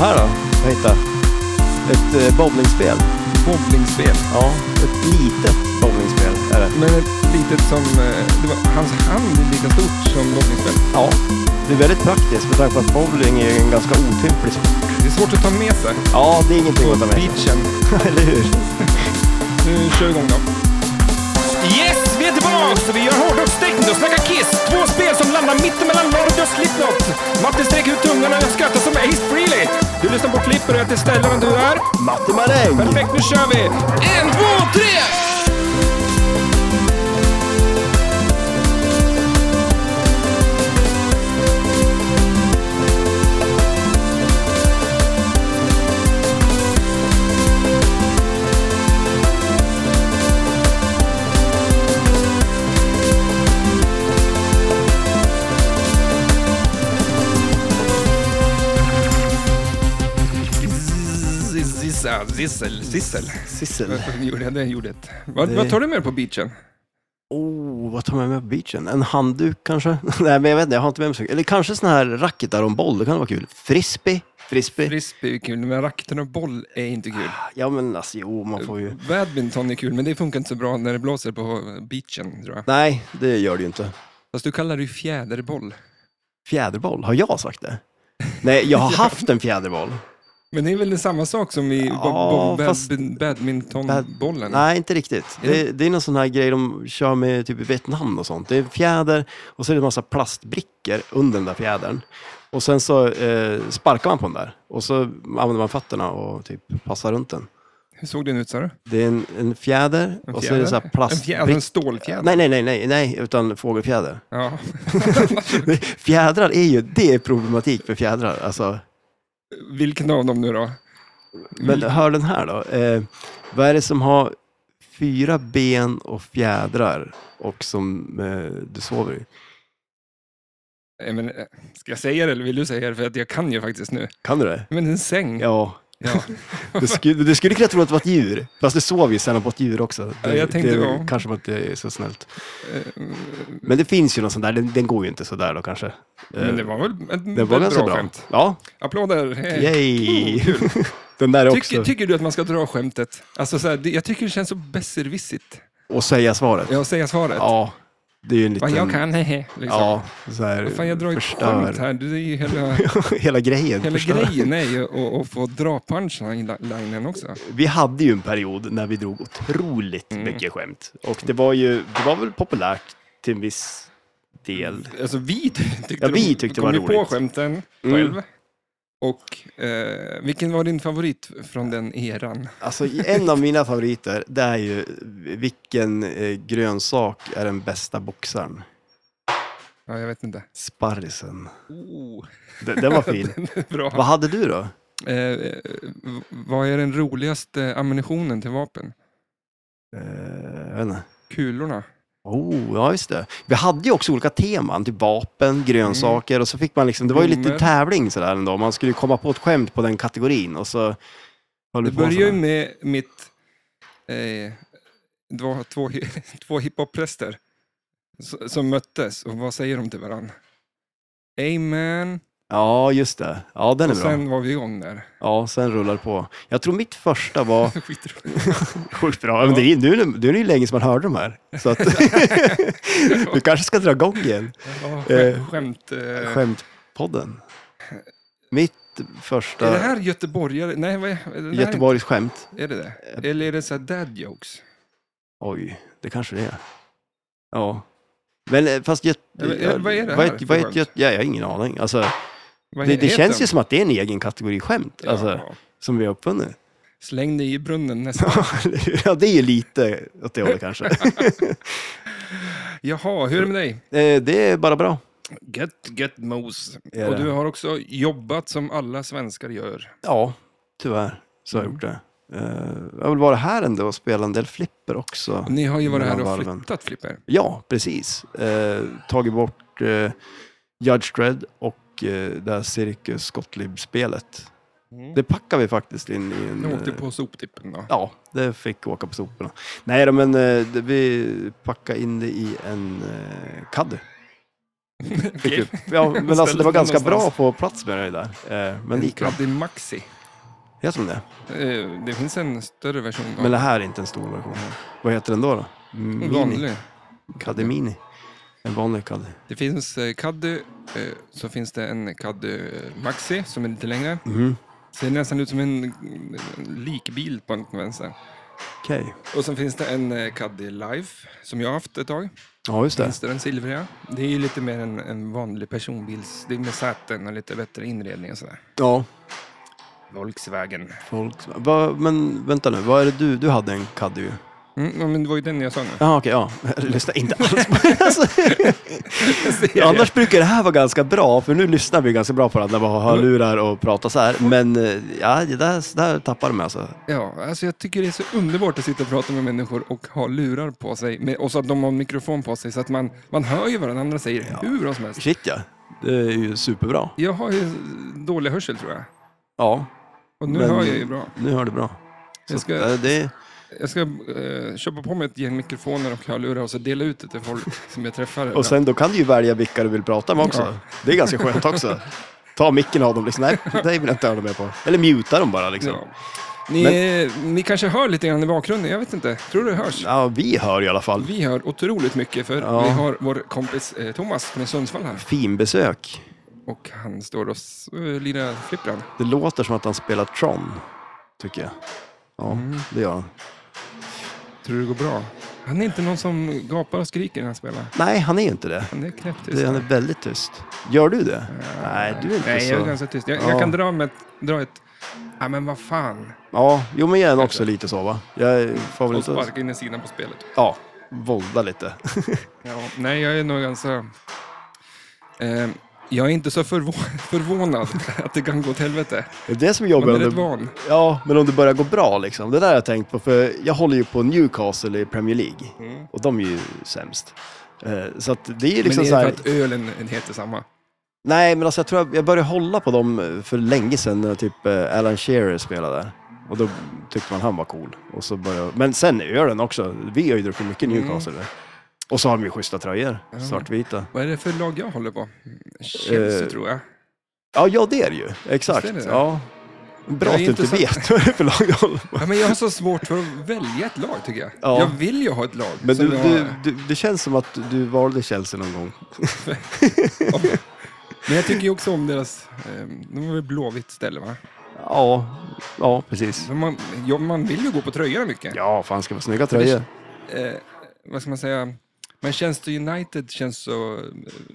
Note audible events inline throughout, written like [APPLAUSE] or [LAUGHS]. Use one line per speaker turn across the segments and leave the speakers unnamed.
här då. Jag hittade ett eh, bowlingspel.
Bowlingspel.
Ja, ett litet bowlingspel är det.
Men ett litet som... eh, Det var, hans hand är lika stort som bowlingspel.
Ja. Det är väldigt praktiskt med tanke på att bowling är en ganska otymplig sport.
Det är svårt att ta med sig
Ja, det är ingenting
på
att ta med.
beachen.
[LAUGHS] Eller hur?
Nu kör vi igång då. Yes, vi är tillbaks! Vi gör hårdrock, techno, snackar Kiss. Två spel som landar mittemellan Lord och Slipknot. Martin sträcker ut tungan och jag skrattar som Ace Frehley. Du lyssnar på Flipper och jag heter Stellan och du är...
Matte Maräng!
Perfekt, nu kör vi! En, två, tre! Zissa, zissel, zissel.
Sissel.
Varför gjorde jag det ljudet? Vad,
Det-
vad tar du med dig på beachen?
Oh, vad tar man med på beachen? En handduk kanske? [LAUGHS] Nej, men jag vet inte. Jag har inte med mig så Eller kanske sån här racketar och en boll. Det kan vara kul. Frisbee. Frisbee.
Frisbee är kul, men racketen och boll är inte kul.
ja, men alltså jo, man får ju...
Badminton är kul, men det funkar inte så bra när det blåser på beachen, tror jag.
Nej, det gör det ju inte.
Fast du kallar det ju fjäderboll.
Fjäderboll, har jag sagt det? Nej, jag har haft en fjäderboll.
Men det är väl samma sak som i bo-
Ja,
bo- bad-
fast-
badmintonbollen?
Mm. Nej, inte riktigt. Det, det är någon sån här grej de kör med typ i Vietnam och sånt. Det är en fjäder och så är det en massa plastbrickor under den där fjädern. Och sen så eh, sparkar man på den där och så använder man fötterna och typ passar runt den.
Hur såg den ut, sa du? En
Det är en, en fjäder och så är det så här
En, fjäder, en
plastbrickor.
stålfjäder?
Nej, nej, nej, nej, nej, utan fågelfjäder. [LAUGHS]
Ja.
Fjädrar är ju, det är problematik för fjädrar. Alltså,
Vilken av dem nu då?
Men hör den här då. Eh, vad är det som har fyra ben och fjädrar och som eh, du sover i?
Eh, Men, eh, ska jag säga det eller vill du säga det? För att jag kan ju faktiskt nu.
Kan du det?
Men en säng.
Ja.
Ja.
Du skulle, du skulle kunna tro att det var ett djur. Fast du sover ju sällan på ett djur också.
Ja,
Det,
jag tänkte,
det
ja.
kanske var inte är så snällt.
Eh,
Men det finns ju någon sån där. Den, den går ju inte så där då kanske. Eh,
Men det var väl ett,
den var
ett
ganska
bra,
bra.
skämt?
Ja,
Applåder! Eh,
yay!
kul.
den där också.
Tycker, tycker du att man ska dra skämtet? Alltså, så här, det- jag tycker det känns så besserwissigt.
och säga svaret.
Ja, att säga svaret.
Ja, det är ju en liten...
Vad jag kan, [LAUGHS] hehe. Liksom.
Ja, så här,
Fan, jag drar ett
förstör.
skämt här. Det är ju hela,
[LAUGHS] Hela grejen.
hela
förstör.
grejen är ju att, att få dra punchlinen också.
Vi hade ju en period när vi drog otroligt
Mm.
mycket skämt. Och det var ju, det var väl populärt till en viss del.
Alltså, vi tyckte,
Ja, vi
de-
tyckte det
kom
var
ju på
roligt. Mm.
skämten själv. Och eh, vilken var din favorit från den eran?
Alltså en av mina favoriter, det är ju vilken eh, grönsak är den bästa boxaren?
Ja, jag vet inte.
Sparrisen.
Oh,
Den, den var
[LAUGHS]
fin.
bra.
Vad hade du då?
Eh, eh, v- vad är den roligaste ammunitionen till vapen?
Eh, jag vet inte.
Kulorna.
Oh, ja just det. Vi hade ju också olika teman, typ vapen, grönsaker och så fick man liksom, det var ju lite
Blommor.
tävling sådär ändå. Man skulle ju komma på ett skämt på den kategorin och så höll
Det
vi på
börjar ju
sådär.
med mitt... Eh, det var två, hi- [LAUGHS] två hiphop-präster s- som möttes och vad säger de till varandra? Amen.
Ja, just det. Ja, den är
Och
bra.
sen var vi
[LAUGHS]
igång där.
Ja, sen rullar det på. Jag tror mitt första
[LAUGHS]
var...
Skitroligt.
Eh, Sjukt bra. Men det är, nu, är det- nu är det ju länge sedan man hörde de här. Så att...
[LAUGHS]
du kanske ska dra igång igen.
Ja,
Eh,
skämt. skämt eh.
Skämtpodden. Mitt första
Är det här göteborgare? Nej, vad är, är det här
Göteborgs skämt.
Är det det? Eller är det så här dad jokes?
Oj, det kanske det är. Ja. Men eh, fast... Göt...
Ja, men, eh, vad är det
vad
här
ett,
för
vad ett
skämt?
göt... ja, Jag har ingen aning. Alltså,
Vad
det
he-
det
heter
känns ju
den?
som att det är en egen kategori skämt. Alltså,
Ja.
som vi har
[LAUGHS]
uppfunnit.
Släng dig i
[LAUGHS]
brunnen nästan.
ja, det är ju lite åt det hållet
[LAUGHS]
kanske.
Jaha, hur är det med dig?
Eh, det är bara bra.
Gött, gött mos.
Är
Och
det?
du har också jobbat som alla svenskar gör.
Ja, tyvärr så har jag gjort det. Eh, jag har väl varit här ändå och spelat en del flipper också.
Ni har ju varit här
Mellan
och
varven.
flyttat Flipper.
Ja, precis. Eh, tagit bort eh, Judge Dredd och eh, det här Cirkus Gottlieb-spelet. Det packar vi faktiskt in i en...
Nu åkte
eh,
på soptippen då.
Ja, det fick åka på soporna. [LAUGHS] Nej då, men eh, det, vi packade in det i en eh, caddy.
Okej.
Ja, men alltså det var ganska bra
Någonstans.
på plats med det där. Eh, Men det gick bra.
Caddy Maxi.
Jag tror det.
Eh, Det finns en större version. av
Men det här är inte en stor version. Vad heter den då? då?
en
Mini.
vanlig.
Caddy Mini. En vanlig Caddy.
Det finns eh, Caddy, eh, så finns det en Caddy eh, Maxi som är lite längre.
Mhm.
Ser nästan ut som en eh, likbil på en vänster.
Okej.
Och sen finns det en eh, Caddy Life som jag har haft ett tag.
Ja, just det.
Finns det den silvriga? Det är ju lite mer en, en vanlig personbils... Det är med säten och lite bättre inredning och sådär.
Ja,
Volkswagen.
folk. Va, men vänta nu, vad är det du, du hade en Caddy ju?
Mm, ja, men det var ju den jag sa nu.
Jaha, okej, ja. [LAUGHS] Jag lyssnar inte alls på det. Alltså,
Ser jag.
annars brukar det här vara ganska bra, för nu lyssnar vi ganska bra på varandra, bara har lurar och pratar så här. Men eh, ja, det där, det där tappar de mig alltså.
Ja, alltså jag tycker det är så underbart att sitta och prata med människor och ha lurar på sig. Med, och så att de har mikrofon på sig så att man, man hör ju vad den andra säger hur bra som helst.
Shit ja, det är ju superbra.
Jag har ju dålig hörsel tror jag.
Ja,
Och nu
Men-
hör jag ju bra.
nu hör du bra. Så,
Jag ska-
eh, det,
Jag ska eh, köpa på mig ett gäng mikrofoner och hörlurar och så dela ut det till folk som jag träffar.
[LAUGHS] och sen då kan du ju välja vilka du vill prata med också.
Ja.
Det är ganska skönt också. Ta micken och ha dem liksom, nej, det vill jag inte höra med på. Eller muta dem bara liksom.
Ja. Ni, ni kanske hör lite grann i bakgrunden, jag vet inte. Tror du det hörs?
Ja, vi hör i alla fall.
Vi hör otroligt mycket för
Ja.
vi har vår kompis eh, Thomas från Sundsvall här.
Fin besök.
Och han står och s- eh, lirar flippran.
Det låter som att han spelar Tron, tycker jag. Ja,
Mm.
det gör han.
Tror du det går bra? Han är inte någon som gapar och skriker när han spelar.
Nej, han är ju inte det.
Han är knäpptyst.
det han är väldigt tyst. Gör du det? Nej, du är inte
Nej,
så...
jag är ganska tyst. Jag,
Alltså, Ja.
jag kan dra, med, dra ett... Ja, men vad fan.
Ja, jo men jag är nog också lite så va? Jag får väl
Och
inte...
sparka in i sidan på spelet.
Ja, vålda lite.
Ja, nej, jag är nog ganska... Eh, jag är inte så förvå- [LAUGHS] förvånad att det kan gå åt helvete.
Det är det som är jobbigt.
Man är
om
rätt
det-
van.
Ja, men om det börjar gå bra liksom. Det där har jag tänkt på, för jag håller ju på Newcastle i Premier League. Och de är ju sämst. Eh, Så att det är liksom
Mm. men
så
är
här...
det för att ölen heter samma?
Nej, men alltså jag tror jag, jag började hålla på dem för länge sedan när typ eh, Alan Shearer spelade där. Och då tyckte man han var cool. Och så började, men sen är den också. Vi har ju druckit mycket
Mm.
Newcastle. Och så har de ju schyssta tröjor. Svartvita.
Vad är det för lag jag håller på? Chelsea,
Eh,
tror jag.
Ja, ja det är det ju. Exakt.
Visst är det det?
Ja. Bra
Ja,
att du inte vet [LAUGHS]
intressant.
vad det är för lag du håller på.
Ja, men jag har så svårt för att välja ett lag, tycker jag.
Ja.
Jag vill ju ha ett lag.
Men
som
du,
jag
du,
har-
du, det känns som att du valde Chelsea någon gång.
Men jag tycker ju också om deras... Eh, de var väl blåvitt ställe, va?
Ja, ja precis.
Så man, ja, man vill ju gå på tröjorna mycket.
Ja, fan ska vara snygga tröjor.
Eh, vad ska man säga? Manchester United känns så eh,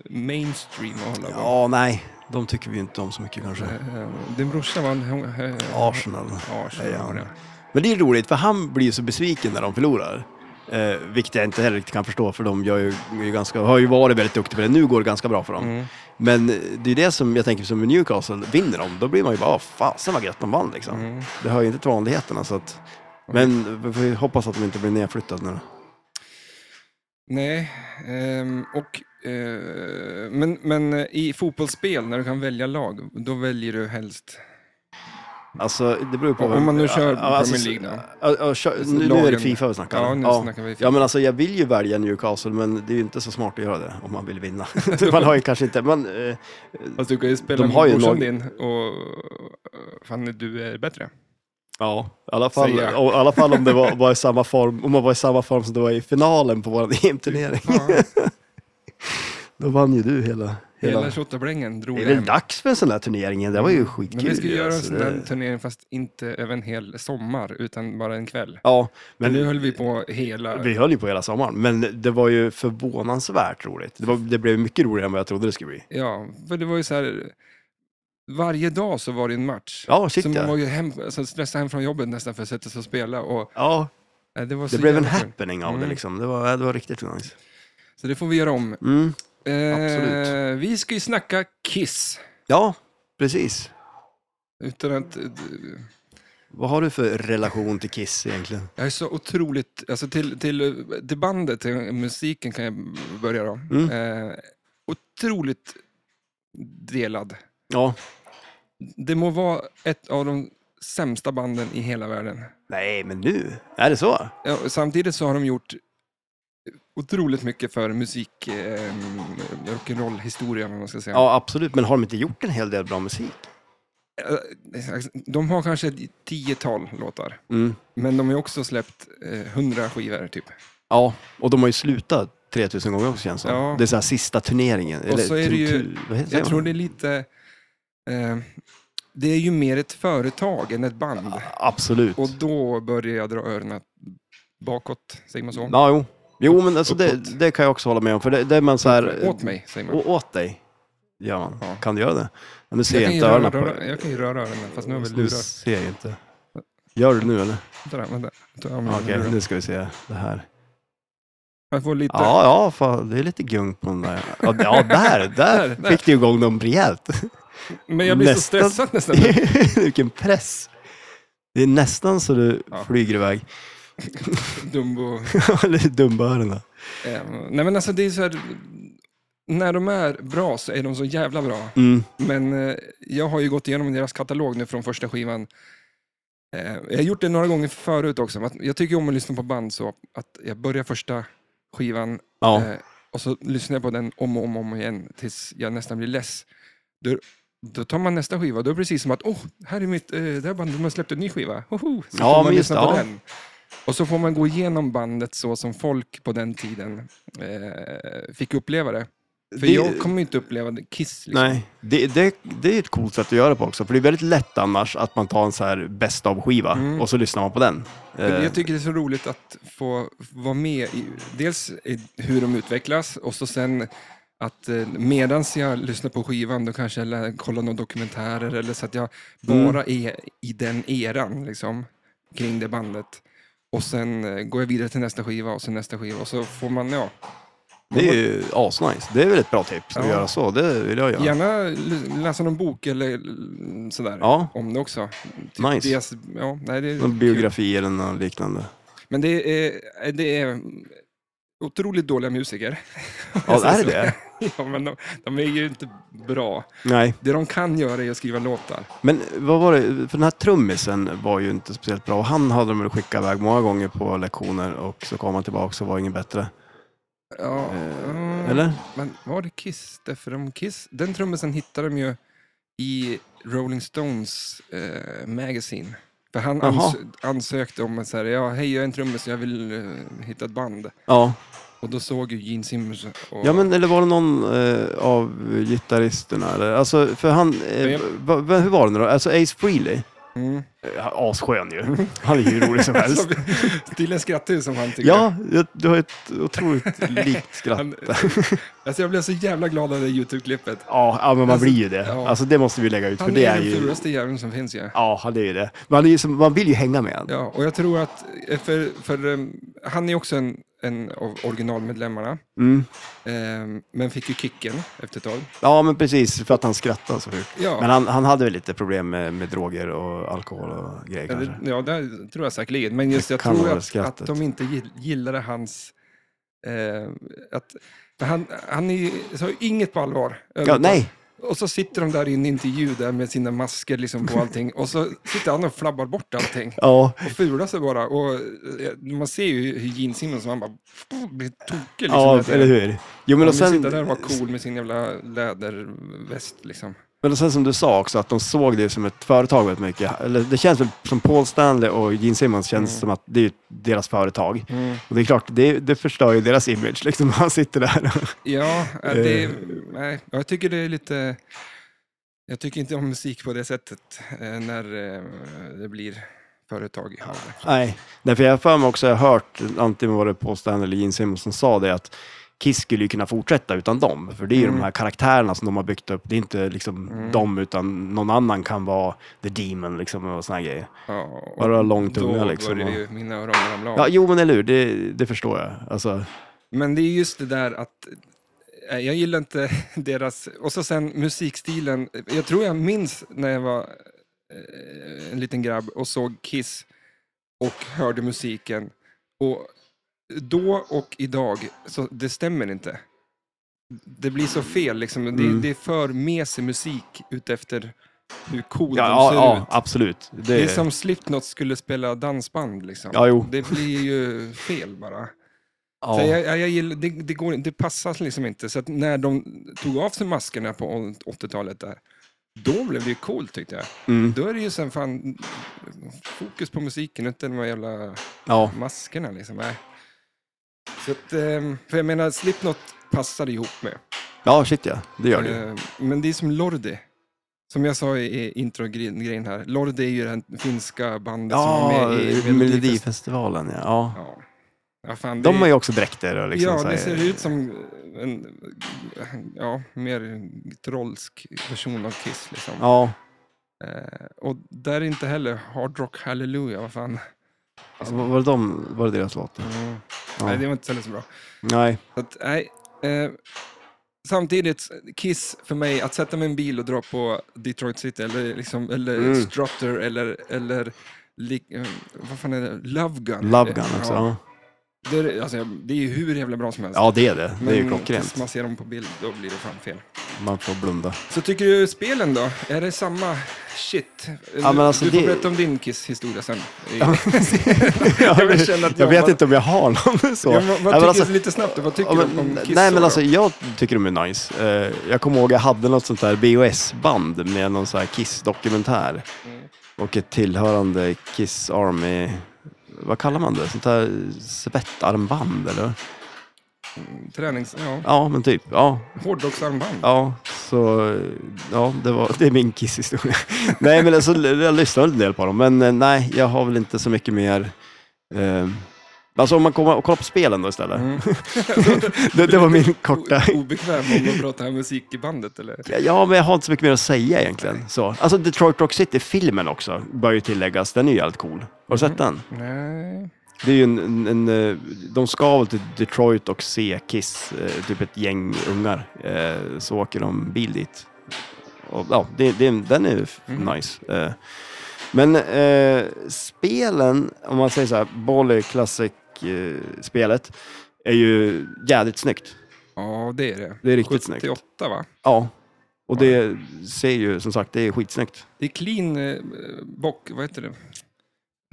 mainstream att hålla på.
Ja, nej. De tycker vi inte om så mycket kanske.
Eh, Din brorsa var en... eh,
Arsenal.
Arsenal
Ja.
var det.
Men det är roligt, för han blir ju så besviken när de förlorar. Eh, vilket jag inte heller riktigt kan förstå, för de gör ju, är ju ganska, har ju varit väldigt duktiga på det. Nu går det ganska bra för dem. Men det är det som jag tänker, som med Newcastle, vinner de, då blir man ju bara, "Ah, fasen vad gött de vann liksom. Det hör ju inte till vanligheterna. Så att, men vi får ju hoppas att de inte blir nedflyttade nu.
Nej, ehm, och... eh, Men, men eh, i fotbollsspel, när du kan välja lag, då väljer du helst...
Alltså, det beror ju på...
Om
vem-
man nu kör
Ja, alltså,
Premier League då?
ja, ja, kör,
Alltså,
nu, nu är det
lagen.
Fifa vi snackar
Ja,
om.
nu snackar vi Fifa.
Ja, men alltså jag vill ju välja Newcastle, men det är ju inte så smart att göra det om man vill vinna. [LAUGHS] man har ju kanske inte... Man, eh,
Alltså du kan ju spela
De
med
har ju
brorsan
lag-
din och... eh, Fan, du
[LAUGHS]
är bättre.
Ja, i alla fall,
Säger jag.
och, i alla fall om, det var, var i samma form, om man var i samma form som du var i finalen på vår EM-turnering.
Ja,
Då vann ju du hela... hela.
hela tjotteblängen drog
det är
jag hem.
väl dags för en sån här turnering igen. Det var ju skitkul.
Men vi ska ju
ju,
göra en
alltså,
sån
det-
där turnering fast inte över en hel sommar utan bara en kväll.
Ja,
Men nu
men
höll vi på hela...
vi höll ju på hela sommaren. Men det var ju förvånansvärt roligt. Det, var, det blev mycket roligare än vad jag trodde det skulle bli.
Ja, för det var ju så här... Varje dag så var det en match.
Ja, shit
så man
ja.
var ju hem, alltså stressad hem från jobbet nästan för att sätta sig och spela. Och,
Ja,
eh, det var så
det blev en
jävla kul.
happening av det
Mm.
liksom. Det var, det var riktigt nice.
Så det får vi göra om.
Mm.
Eh,
Absolut.
Vi ska ju snacka Kiss.
Ja, precis.
Utan att... eh,
Vad har du för relation till Kiss egentligen?
Jag är så otroligt... Alltså till, till, till bandet, till musiken kan jag börja då.
Mm.
Eh, otroligt delad.
Ja,
Det må vara ett av de sämsta banden i hela världen.
nej men nu, är det så?
Ja, och samtidigt så har de gjort otroligt mycket för musik, eh, rock'n'roll-historien om man ska säga.
Ja, absolut. Men har de inte gjort en hel del bra musik?
Eh, De har kanske ett tiotal låtar,
Mm.
men de har ju också släppt eh, hundra skivor typ.
Ja, och de har ju slutat 3000 gånger också känns det som.
Ja.
Det är så här sista turneringen.
Och så är det ju-
tur- vad heter- säger
Jag
man?
tror det är lite... Eh, det är ju mer ett företag än ett band.
Absolut.
Och då börjar jag dra öronen bakåt, säger man så?
Ja, jo. Jo, men alltså det,
Uppåt.
det kan jag också hålla med om. För det, det är man så här...
Åt mig, säger man.
Och eh, åt dig. Ja, man.
Ja.
Kan du göra det? Men nu ser
Jag
jag
kan, ju
inte
röra,
öronen på
röra,
dig.
jag kan ju röra öronen, fast nu har jag väl
Nu
lurar.
ser jag inte. Gör du det nu eller?
Vänta, där, vänta. Ta av mig
Okej,
mina lurar.
nu ska vi se det här.
Jag får lite...
Ja, ja, fan, det är lite gung på den där. Ja, ja där, där,
[LAUGHS] Där, där.
fick du igång dem rejält.
[LAUGHS] men jag blir så
nästan-
stressad nästan.
[LAUGHS] Vilken press. Det är nästan så du
Ja.
flyger iväg. [LAUGHS]
Dumbo.
Eller dumbörarna.
Eh, nej men alltså det är så här... När de är bra så är de så jävla bra.
Mm.
Men eh, jag har ju gått igenom deras katalog nu från första skivan. Eh, jag har gjort det några gånger förut också. men Att jag tycker om att lyssna på band så att jag börjar första skivan
Ja,
eh, och så lyssnar jag på den om och om, och om igen tills jag nästan blir less. Då, då tar man nästa skiva då är det precis som att oh, här är mitt, eh, det här bandet de har släppt en ny skiva. Hoho!
Ja,
Så får man
men just
lyssna
det, ja.
på den. Och så får man gå igenom bandet så som folk på den tiden eh, fick uppleva det. För
Det-
jag kommer ju inte uppleva det- Kiss. Liksom.
nej. Det, det, det är ett coolt sätt att göra det på också. För det är väldigt lätt annars att man tar en så här bäst av skiva
Mm.
och så lyssnar man på den.
Men
Eh,
Jag tycker det är så roligt att få vara med i dels i hur de utvecklas och så sen att eh, medans jag lyssnar på skivan då kanske jag lär- kollar några dokumentärer eller så att jag
Mm.
bara är i den eran liksom, kring det bandet. Och sen eh, går jag vidare till nästa skiva och sen nästa skiva och så får man, ja,
Eh, Det är ju asnice. Det är väl ett bra tips att
Ja.
göra så. Det vill jag göra.
gärna l- läsa någon bok eller l- sådär
Ja.
om det också.
Nice.
Dels, ja, nej, det är
Någon
kul.
biografi eller något
[LAUGHS]
liknande.
Men det är, eh, det är otroligt dåliga musiker.
Ja, det är det?
[LAUGHS] ja, men de, de är ju inte bra.
Nej.
Det de kan göra är att skriva låtar.
Men vad var det? För den här trummisen var ju inte speciellt bra. Och han hade de väl skickat iväg många gånger på lektioner och så kom han tillbaka och var ingen bättre.
Ja, mm.
Eh, Eller?
Men var det Kiss? Därför de Kiss? Den trummisen hittade de ju i Rolling Stones eh, Magazine. För han
Jaha.
ans ansökte om att säga, ja, hej jag är en trummis, jag vill eh, hitta ett band.
Ja.
Och då såg ju Gene Simmons och...
Ja men eller var det någon eh, av gitarristerna eller? Alltså för han, eh,
Ja.
va, va, hur var det nu då? Alltså Ace Frehley?
Mm.
Eh, Asskön ju. [LAUGHS] Han är ju hur rolig som
[LAUGHS]
helst.
Tydligen skrattade ju som han tyckte.
Ja, jag- du har ett otroligt likt skratt.
Han,
[LAUGHS]
alltså jag blev så jävla glad av det YouTube-klippet.
Ja, ja, men man
Alltså,
blir ju det.
ja.
Alltså det måste vi lägga ut för
Han
det
är
är
den
ju...
fulaste jäveln som finns ju.
Ja, han är ju det. Man, är ju som, man vill ju hänga med han.
Ja, och jag tror att, eh, för, för ehm, han är också en, en av originalmedlemmarna,
Mm.
ehm, men fick ju kicken efter ett tag.
Ja, men precis. För att han skrattade så mycket.
Ja,
Men han, han hade väl lite problem med, med droger och alkohol och grejer
ja,
kanske.
det, eh, ja, det tror jag säkerligen, men just jag
kan
tror
vara
att,
skrattet.
att de inte gill- gillade hans... Eh, att, för han, han är ju- så har ju inget på allvar.
Ja, nej,
Och så sitter de där i en intervju där med sina masker liksom på allting och så sitter han och flabbar bort allting.
ja.
och fular sig bara. Och eh, man ser ju hur Gene Simmons, han bara pff, blir tokig. Liksom,
ja
där.
eller hur? Jo, men
Han
och,
sen...
sen,
sitter där och var cool med sin jävla läderväst. Liksom.
men och sen som du sa också, att de såg det som ett företag väldigt mycket. Eller, det känns väl som Paul Stanley och Gene Simmons känns
Mm.
som att det är ju deras företag. Och det är klart, det, det förstör ju deras image. Liksom, [LAUGHS] han sitter där.
Ja, eh, det,
Eh.
nej, jag tycker det är lite... Jag tycker inte om musik på det sättet eh, när eh, det blir företag av det.
Nej, därför jag har för mig också, jag har hört, antingen var det Paul Stanley eller Gene Simmons som sa det, att Kiss skulle ju kunna fortsätta utan dem. För det är ju
Mm.
de här karaktärerna som de har byggt upp. Det är inte liksom dem, utan någon annan kan vara the demon liksom och såna här grejer.
Ja, och
Bara lång tunga
då
liksom.
börjar
Och...
ju mina öron ramla av.
Ja, jo men eller hur, det, det förstår jag. Alltså,
Men det är just det där att eh, jag gillar inte [LAUGHS] deras... Och så sen musikstilen. Jag tror jag minns när jag var eh, en liten grabb och såg Kiss och hörde musiken. Och då och idag, så det stämmer inte. Det blir så fel liksom. Det,
Mm.
det är för mesig musik utefter hur cool
ja,
de
ja,
ser
ja,
ut.
absolut. Det,
Det är som Slipknot skulle spela dansband liksom.
Ja, jo.
Det blir ju fel bara.
Ja.
Så jag, jag, jag gillar, det, det, går, det passar liksom inte. Så att när de tog av sig maskerna på 80-talet, där, då blev det ju coolt tyckte jag.
Mm.
Då är det ju sen fan fokus på musiken, inte de här jävla
Ja.
maskerna. Liksom. Nej. Så att, ehm, för jag menar, Slipknot passade ihop med.
ja, shit ja. Det gör det ju.
Eh, Men det är som Lordi. Som jag sa i i introgrejen här, Lordi är ju det här finska bandet
Ja,
som är med i Melodifest-
Melodifestivalen ja. ja.
Ja. Ja, fan, det
De har ju också dräkter och liksom
ja,
så
det
här-
ser ut som en ja, mer trollsk version av Kiss. Liksom.
Ja,
Eh, och där är inte heller Hard Rock Hallelujah, vad
Mm.
fan.
alltså, var, var, det de, var det deras låt?
Mm.
Ja.
Nej, det var inte heller så bra.
Nej.
Så att, nej, eh, samtidigt, Kiss för mig, att sätta mig i en bil och dra på Detroit City eller, liksom, eller
Mm.
Strutter eller, eller lik- eh, vad fan är det? Love Gun.
Love Gun
Ja,
också. Ja.
Det är, alltså, det är ju hur jävla bra som helst.
ja, det är det. Det är ju
Men tills
klockrent.
man ser dem på bild, då blir det fan fel.
Man får blunda.
[LAUGHS] Så tycker du spelen då? Är det samma shit?
Ja, men alltså
du får
det-
berätta om din
[LAUGHS]
Kiss-historia sen.
jag,
vill känna att [LAUGHS] jag-
vet inte om jag har någon [LAUGHS] så.
Ja, vad vad
men
tycker
alltså-
du lite snabbt? då? Vad tycker
Ja, men,
du om Kiss?
nej
då?
men alltså jag tycker de är nice. Eh, jag kommer ihåg jag hade något sånt där BOS-band med någon sån här Kiss-dokumentär.
Mm.
Och ett tillhörande Kiss Army, vad kallar man det? Sånt där svettarmband eller?
Tränings... Ja.
Ja men typ, ja.
Hårdrocksarmband.
Ja, så eh, ja, det, var, det är min Kiss-historia. [LAUGHS] nej men alltså jag lyssnade en del på dem men eh, nej jag har väl inte så mycket mer. Eh, alltså om man kommer och kollar på spelen då istället.
Mm.
[LAUGHS] det, det var min korta
O- Obekväm om att prata musik i bandet eller?
Ja, men jag har inte så mycket mer att säga egentligen. Så. Alltså Detroit Rock City-filmen också, bör ju tilläggas. Den är ju helt cool. Har du sett den?
Nej.
Det är ju en, en, en, eh, de ska väl till Detroit och se Kiss, eh, typ ett gäng ungar. Eh, Så åker de bil dit. Och, ja, det, det, den är f-
Mm.
nice. Eh, Men eh, spelen, om man säger så här, Bolly Classic-spelet, är ju jädrigt snyggt.
Ja, det är det.
Det är riktigt snyggt.
78 va?
Ja, och det ser ju, som sagt, det är skitsnyggt.
Det är clean eh, bock, vad heter det?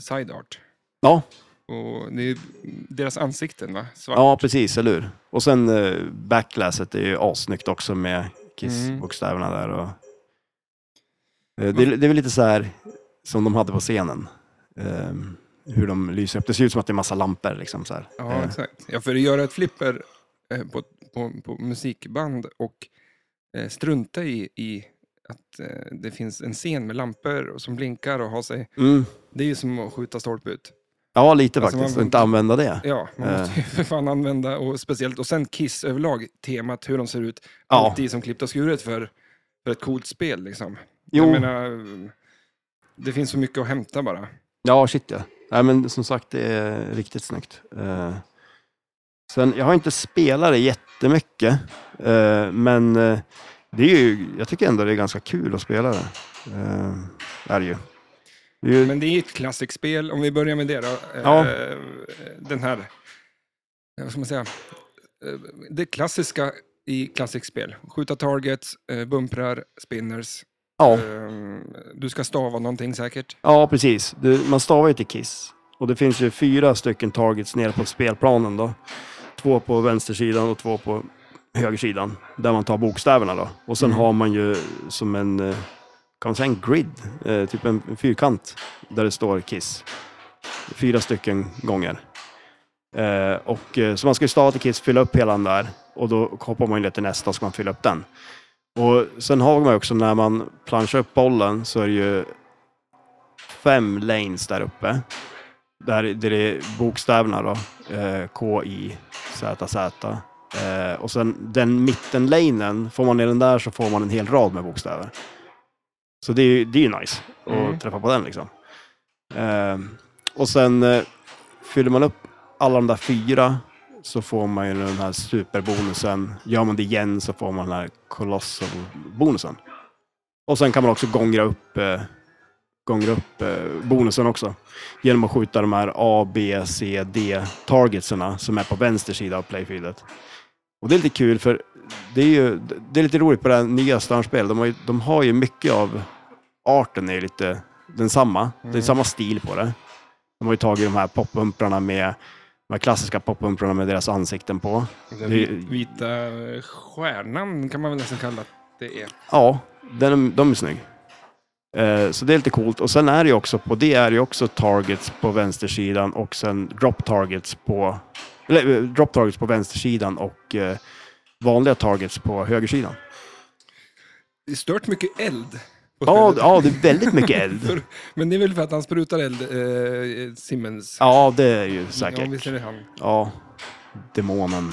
Side art.
Ja,
Och det är deras ansikten va? Svart.
ja precis, eller hur? Och sen eh, backlasset är ju assnyggt också med
Mm.
Kiss-bokstäverna där. Och, eh, det, är- det är väl lite så här som de hade på scenen. Eh, hur de lyser upp. Det ser ut som att det är massa lampor. Liksom, så här.
Ja,
Eh,
exakt. Ja, för att göra ett flipper eh, på, på, på musikband och eh, strunta i, i att eh, det finns en scen med lampor och- som blinkar och har sig.
mm.
Det är ju som att skjuta stolpe ut.
Ja, lite
Alltså,
faktiskt.
man-
Och inte använda det.
Ja, man
Eh.
måste ju för fan använda och speciellt och sen Kiss överlag, temat hur de ser ut.
Ja.
Alltid som klippt och skuret för, för ett coolt spel liksom.
Jo,
Jag menar, det finns så mycket att hämta bara.
ja shit ja. Nej, men som sagt, det är riktigt snyggt. Eh, sen, jag har inte spelat det jättemycket, eh, men eh, det är ju, jag tycker ändå det är ganska kul att spela det. Eh, är det ju. Det är ju
Men det är ett klassikspel, om vi börjar med det då.
Ja.
Eh, Den här, eh, vad ska man säga, Eh, det klassiska i klassikspel. Skjuta targets, eh, bumprar, spinners.
ja,
Eh, Du ska stava någonting säkert.
ja, precis. Du, man stavar ju till Kiss. Och det finns ju fyra stycken targets nere på spelplanen då. Två på vänstersidan och två på högersidan. Där man tar bokstäverna då. Och sen
Mm.
har man ju som en, eh, kan man säga en grid? Eh, typ en, en fyrkant där det står Kiss. Fyra stycken gånger. Eh, och, eh, så man ska ju stava till Kiss, fylla upp hela den där. Och då hoppar man ju ner till nästa och ska man fylla upp den. Och sen har man ju också när man planchar upp bollen så är det ju fem lanes där uppe. Där, där det är bokstäverna då. Eh, K, I, Z, Z. Eh, och sen den mittenlanen, får man ner den där så får man en hel rad med bokstäver. Så det är ju det är ju nice att
Mm.
träffa på den liksom. Eh, och sen eh, fyller man upp alla de där fyra så får man ju den här superbonusen. Gör man det igen så får man den här colossal-bonusen. Och sen kan man också gångra upp, eh, gångra upp eh, bonusen också. Genom att skjuta de här A, B, C, D-targetserna som är på vänster sida av playfieldet. Och det är lite kul för det är ju det är lite roligt på det här nya Stjärnspelet. De, har ju- de har ju mycket av arten är ju lite densamma. Det är
Mm.
samma stil på det. De har ju tagit de här poppumprarna med de här klassiska poppumprarna med deras ansikten på.
Den
Det-
vita stjärnan kan man väl nästan kalla att det är.
Ja, den, de är snygg. Eh, så det är lite coolt. Och sen är det ju också på det är det ju också targets på vänstersidan och sen drop targets på eller, eh, drop targets på vänstersidan och eh, vanliga targets på högersidan.
Det är stört mycket eld. på
Ja,
spelet.
ja, det är väldigt mycket [LAUGHS] eld.
För- [LAUGHS] Men det är väl för att han sprutar eld, eh, Simmons.
Ja, det är ju
Ja, visst är
säkert.
det han.
Ja, demonen.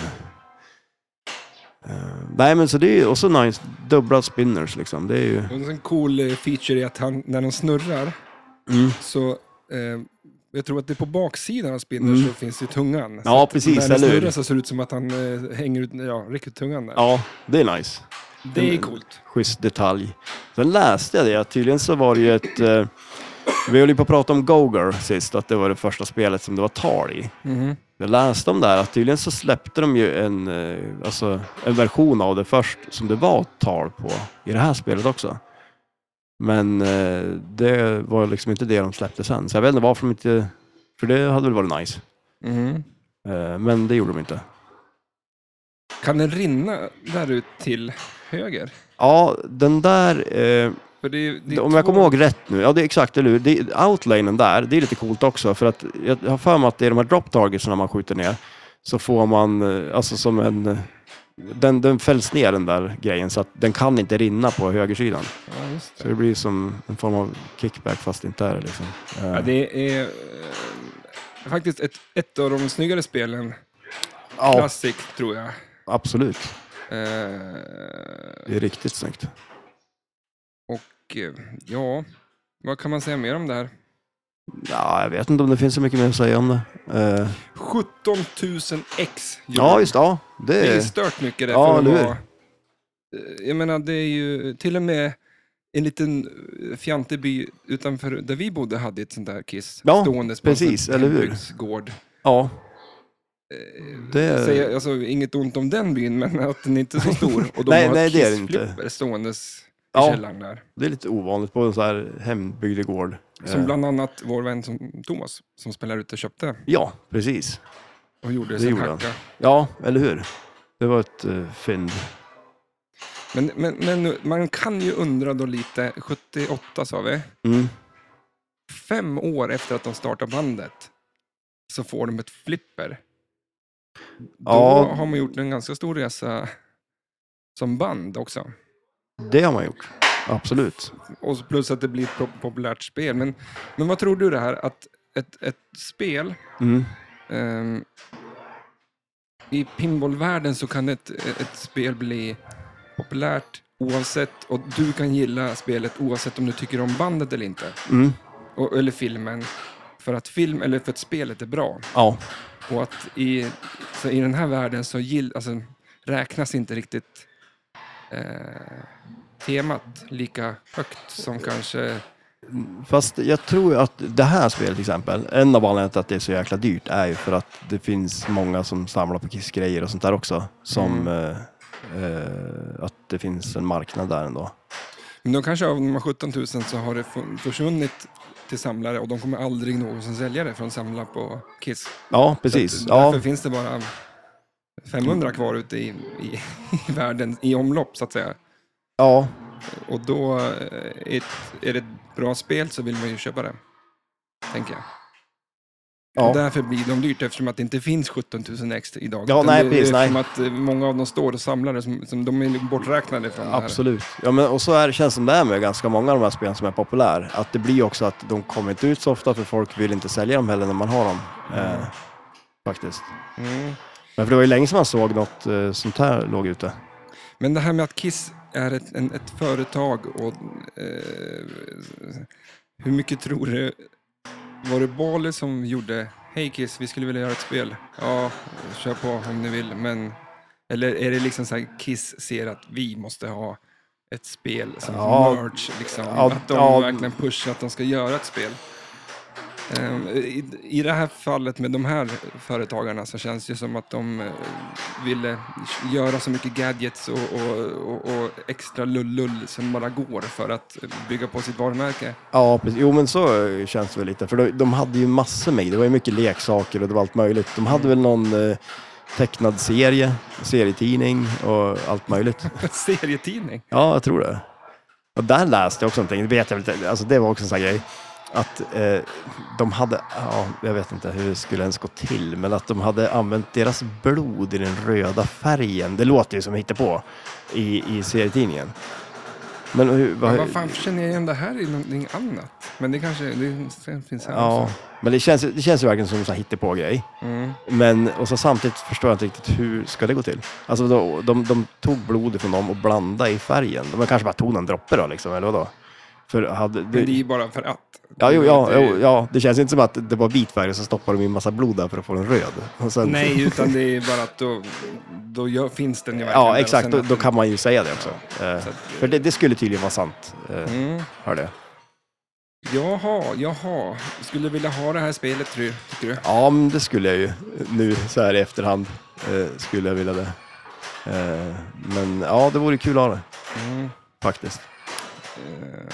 Eh, nej, men så det är ju också nice. Dubbla spinners liksom. Det är ju...
Och en sån cool eh, feature är att han, när han snurrar
Mm.
så eh, jag tror att det är på baksidan av spindeln så finns det tungan.
Mm. Ja,
så att
precis,
När han
eller hur?
snurrar så ser det ut som att han eh, hänger ut ja, räcker ut tungan där.
Ja, det är nice.
det är coolt.
schysst detalj. Sen läste jag det, att tydligen så var det ju ett... Eh, vi höll ju på att prata om Goger sist, att det var det första spelet som det var tal i.
Mm-hmm.
Jag läste om det här, att tydligen så släppte de ju en, eh, alltså, en version av det först som det var tal på i det här spelet också. Men eh, det var liksom inte det de släppte sen, så jag vet inte varför de inte... För det hade väl varit nice.
Mhm.
Eh, men det gjorde de inte.
Kan den rinna där ut till höger?
Ja, den där... Eh,
För det är, det är
Om jag
två-
kommer ihåg rätt nu, ja det är exakt, eller hur? Det- Outlanen där, det är lite coolt också för att jag har för mig att det är de här drop targetsna man skjuter ner så får man, eh, alltså som en, eh, den, den fälls ner den där grejen så att den kan inte rinna på högersidan.
Ja, just
Så
det.
det blir som en form av kickback fast det inte är det liksom. Eh,
Ja, det är eh, faktiskt ett, ett av de snyggare spelen.
ja,
Classic, tror jag.
absolut.
Eh,
Det är riktigt snyggt.
Och eh, ja, vad kan man säga mer om det här?
Ja, jag vet inte om det finns så mycket mer att säga om det. Eh,
17 000 ex.
ja, just ja, det.
det är
är-
stört mycket det.
Ja,
för att
eller hur?
vara- Eh, Jag menar, det är ju till och med en liten eh, fjantig by utanför där vi bodde hade ett sånt där Kiss.
Ja,
ståendes
precis, eller hur?
Gård.
Ja, det-
Säger, alltså, inget ont om den byn, men att den inte
[LAUGHS]
är så stor. Och de
Nej,
har
nej,
ett
det är det inte.
Kiss-flipper ståendes i
Ja.
källaren där.
det är lite ovanligt på en sån här hembygdegård.
Som
Eh,
bland annat vår vän som, Thomas, som spelar ute, köpte
Ja, precis.
och gjorde
Det
sin
gjorde han.
hacka.
Ja, eller hur? Det var ett uh, fynd.
Men, men, men man kan ju undra då lite, 78 sa vi,
Mm.
fem år efter att de startar bandet så får de ett flipper. Då
Ja.
har man gjort en ganska stor resa som band också.
Det har man gjort. Absolut.
Och så plus att det blir ett pop- populärt spel. Men, men vad tror du det här, att ett, ett spel
Mm.
ehm, i pinballvärlden så kan ett, ett spel bli populärt oavsett, och du kan gilla spelet oavsett om du tycker om bandet eller inte.
Mm.
och, eller filmen för att film eller för att spelet är bra.
Ja.
Och att i, så i den här världen så gill, alltså, räknas inte riktigt eh, temat lika högt som kanske...
Fast jag tror att det här spelet till exempel, en av anledningarna till att det är så jäkla dyrt är ju för att det finns många som samlar på kissgrejer och sånt där också. Som eh, eh, att det finns en marknad där ändå.
Men de kanske av de här 17 000 så har det fun- försvunnit till samlare och de kommer aldrig någonsin sälja det för de samlar på Kiss.
Ja, precis.
Så att
Ja,
Därför finns det bara 500 kvar ute i, i, [LAUGHS] i världen i omlopp så att säga.
ja,
Och då, eh, ett, är det ett bra spel så vill man ju köpa det. Tänker jag.
ja.
Och därför blir de dyrt eftersom att det inte finns 17 000 extra idag.
Ja,
Utan
nej,
det,
precis, nej.
Eftersom att eh, många av dem står och samlar det, som, som de är borträknade från
Absolut. Ja, men och så är, känns det som det är med ganska många av de här spelen som är populära. Att det blir också att de kommer inte ut så ofta för folk vill inte sälja dem heller när man har dem. Eh, faktiskt.
det här. Mm.
Men för det var ju länge sedan man såg något eh, sånt här låg ute.
Men det här med att Kiss är ett, en, ett företag och eh, hur mycket tror du, var det Bali som gjorde Hej Kiss, vi skulle vilja göra ett spel. Ja, kör på om ni vill, men... Eller är det liksom så här Kiss ser att vi måste ha ett spel som
Ja.
merch, liksom.
Ja,
att de
ja.
verkligen pushar att de ska göra ett spel. Ehm, I, I det här fallet med de här företagarna så känns det som att de eh, ville göra så mycket gadgets och, och, och, och extra lullull som bara går för att bygga på sitt varumärke. [LAUGHS]
Ja, precis. Jo, men så eh, känns det väl lite. För de, de hade ju massor med Det var ju mycket leksaker och det var allt möjligt. De hade väl någon eh, tecknad serie, serietidning och allt möjligt.
Serietidning.
Ja, jag tror det. Och där läste jag också någonting, det vet jag väl inte, alltså det var också en sån här grej. Att eh, de hade, ja, jag vet inte hur det skulle ens gå till, men att de hade använt deras blod i den röda färgen. Det låter ju som hittepå i, i serietidningen. Men hur,
Ja,
vad,
vad fan känner jag igen det här i någonting annat? Men det kanske det finns här
Ja,
också.
men det känns, ju- det känns ju verkligen som en sån här hittepå-grej.
Mm.
Men, och så samtidigt förstår jag inte riktigt hur ska det gå till. Alltså de, de, de tog blod från dem och blandade i färgen. De kanske bara tog någon droppe då liksom, eller vadå? För hade,
Men det är ju bara för att.
Ja, jo, ja,
Det är ju-
jo, ja, det känns inte som att det var vit färg och så stoppade de in massa blod där för att få den röd. Och sen,
Nej, utan det är bara att då, då gör, finns den ju verkligen. där
Ja,
och
exakt.
sen
Då,
att
då
den-
kan man ju säga det också. Eh,
så att-
för det, det skulle tydligen vara sant, eh,
Mm.
hörde jag.
Jaha, jaha. Skulle du vilja ha det här spelet, tror du- tycker du?
Ja, men det skulle jag ju. Nu så här i efterhand eh, skulle jag vilja det. Eh, men ja, det vore kul att ha det,
Mm.
faktiskt.
Eh,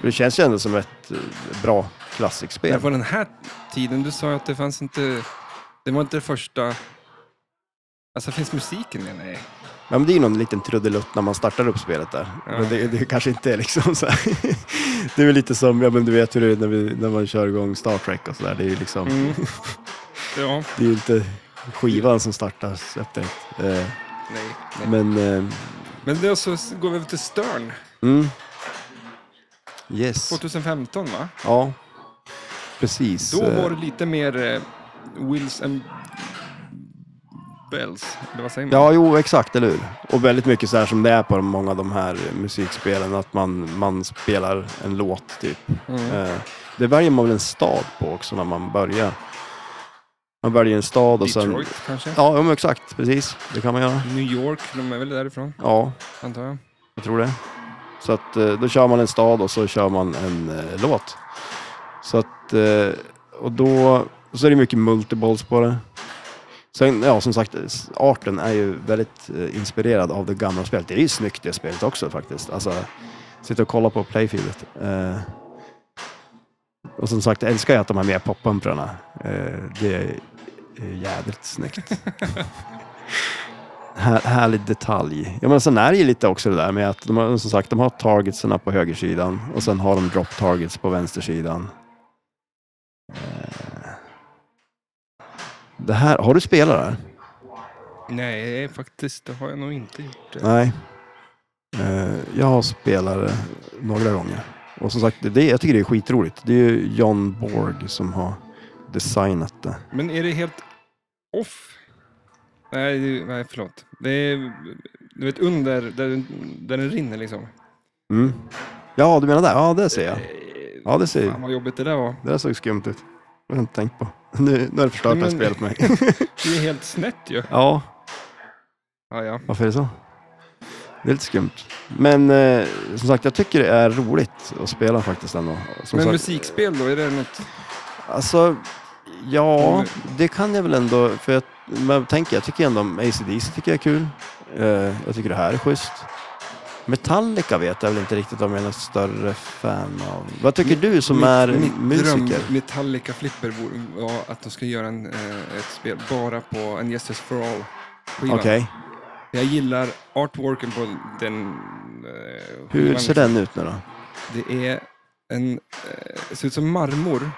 För det känns ju ändå som ett eh, bra klassikspel.
Men på den här tiden, du sa ju att det fanns inte... Det var inte det första... Alltså, finns musiken med? Nej.
Ja, men det är ju någon liten trudelutt när man startar upp spelet där.
Ja.
Men det, det kanske inte är liksom så här. [LAUGHS] Det är väl lite som, ja men du vet hur det är när, vi, när man kör igång Star Trek och sådär. Det är ju liksom,
Mm. Ja,
det är ju inte skivan som startas efter ett. Eh,
nej. nej.
men, eh,
Men då så går vi över till Stern.
mm. Yes.
2015, va?
Ja, precis.
Då
Eh,
var det lite mer eh, Wills and Bells. Eller vad säger man?
Ja, jo, exakt, eller hur? Och väldigt mycket så här som det är på de- många av de här musikspelen, att man, man spelar en låt typ.
Mm.
Eh, Det väljer man väl en stad på också när man börjar. Man väljer en stad och sen...
Detroit, kanske?
Ja, ja, men exakt, precis. Det kan man göra.
New York, de är väl därifrån,
Ja,
antar jag.
jag tror det. Så att eh, då kör man en stad och så kör man en eh, låt. Så att, eh, och då, och så är det mycket multiballs på det. Sen, ja som sagt, s- arten är ju väldigt eh, inspirerad av det gamla spelet. Det är ju snyggt det spelet också faktiskt. Alltså, sitta och kolla på playfieldet. Eh, och som sagt, jag älskar jag att de har med poppumprarna. Eh, det är eh, jädrigt snyggt. Här, härlig detalj. Ja, men sen är det ju lite också det där med att de har, som sagt, de har targetsarna på högersidan och sen har de drop targets på vänstersidan. Eh, Det här, har du spelat det här?
Nej, faktiskt, det har jag nog inte gjort. Det.
Nej. Eh, Jag spelar det några gånger. Och som sagt, det, jag tycker det är skitroligt. Det är ju John Borg som har designat det.
Men är det helt off? Nej, det- nej förlåt. Det är, du vet, under, där, den- där den rinner liksom.
Mm. Ja, du menar det? Ja, det ser jag.
Eh,
Ja, det ser jag.
Fan vad jobbigt det där var.
Det där såg skumt ut. Det har jag inte tänkt på. Nu, nu har du förstört det här
Men-
spelet för mig.
Det är helt snett ju.
ja,
Ja, ja.
varför är det så? Det är lite skumt. Men eh, som sagt, jag tycker det är roligt att spela faktiskt ändå. Som
Men
sagt,
musikspel då, är det något?
Alltså, ja,
Mm.
det kan jag väl ändå. För jag, men jag tänker, jag tycker ändå om ACDC tycker jag är kul. Eh, jag tycker det här är schysst. Metallica vet jag väl inte riktigt om jag är något större fan av. Vad tycker du som är musiker?
dröm, Metallica Flipper, borde- var att de ska göra en, eh, ett spel bara på en Justice for All.
Okej,
skivan. Jag gillar artworken på den eh,
hur
skivan.
ser den ut nu då?
Det är en, eh, det ser ut som marmor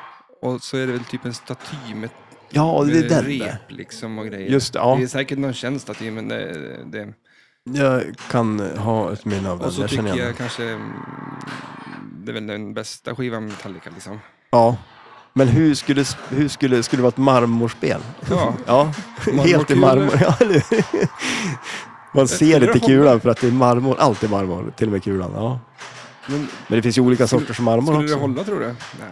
och så är det väl typ en staty med,
Ja, det är
med
den där.
rep liksom och grejer.
Just det, ja.
Eh, Det är säkert någon känd staty men det, det.
Jag kan ha ett minne av den.
Och så
jag
tycker
känner igen
jag
den.
kanske mm, det är väl den bästa skivan med Metallica
[LAUGHS]
liksom.
Ja. Men hur skulle, hur skulle, skulle det vara ett marmorspel?
Ja,
Ja, helt i
[LAUGHS] Marmorkulor.
marmor. [LAUGHS] Ja, eller hur? Man ser
skulle
inte
jag
kulan för att det är marmor. Allt är marmor, till och med kulan. Ja.
men
Men det finns ju olika
Skulle-
sorters marmor
skulle
också.
det hålla tror du? Nej.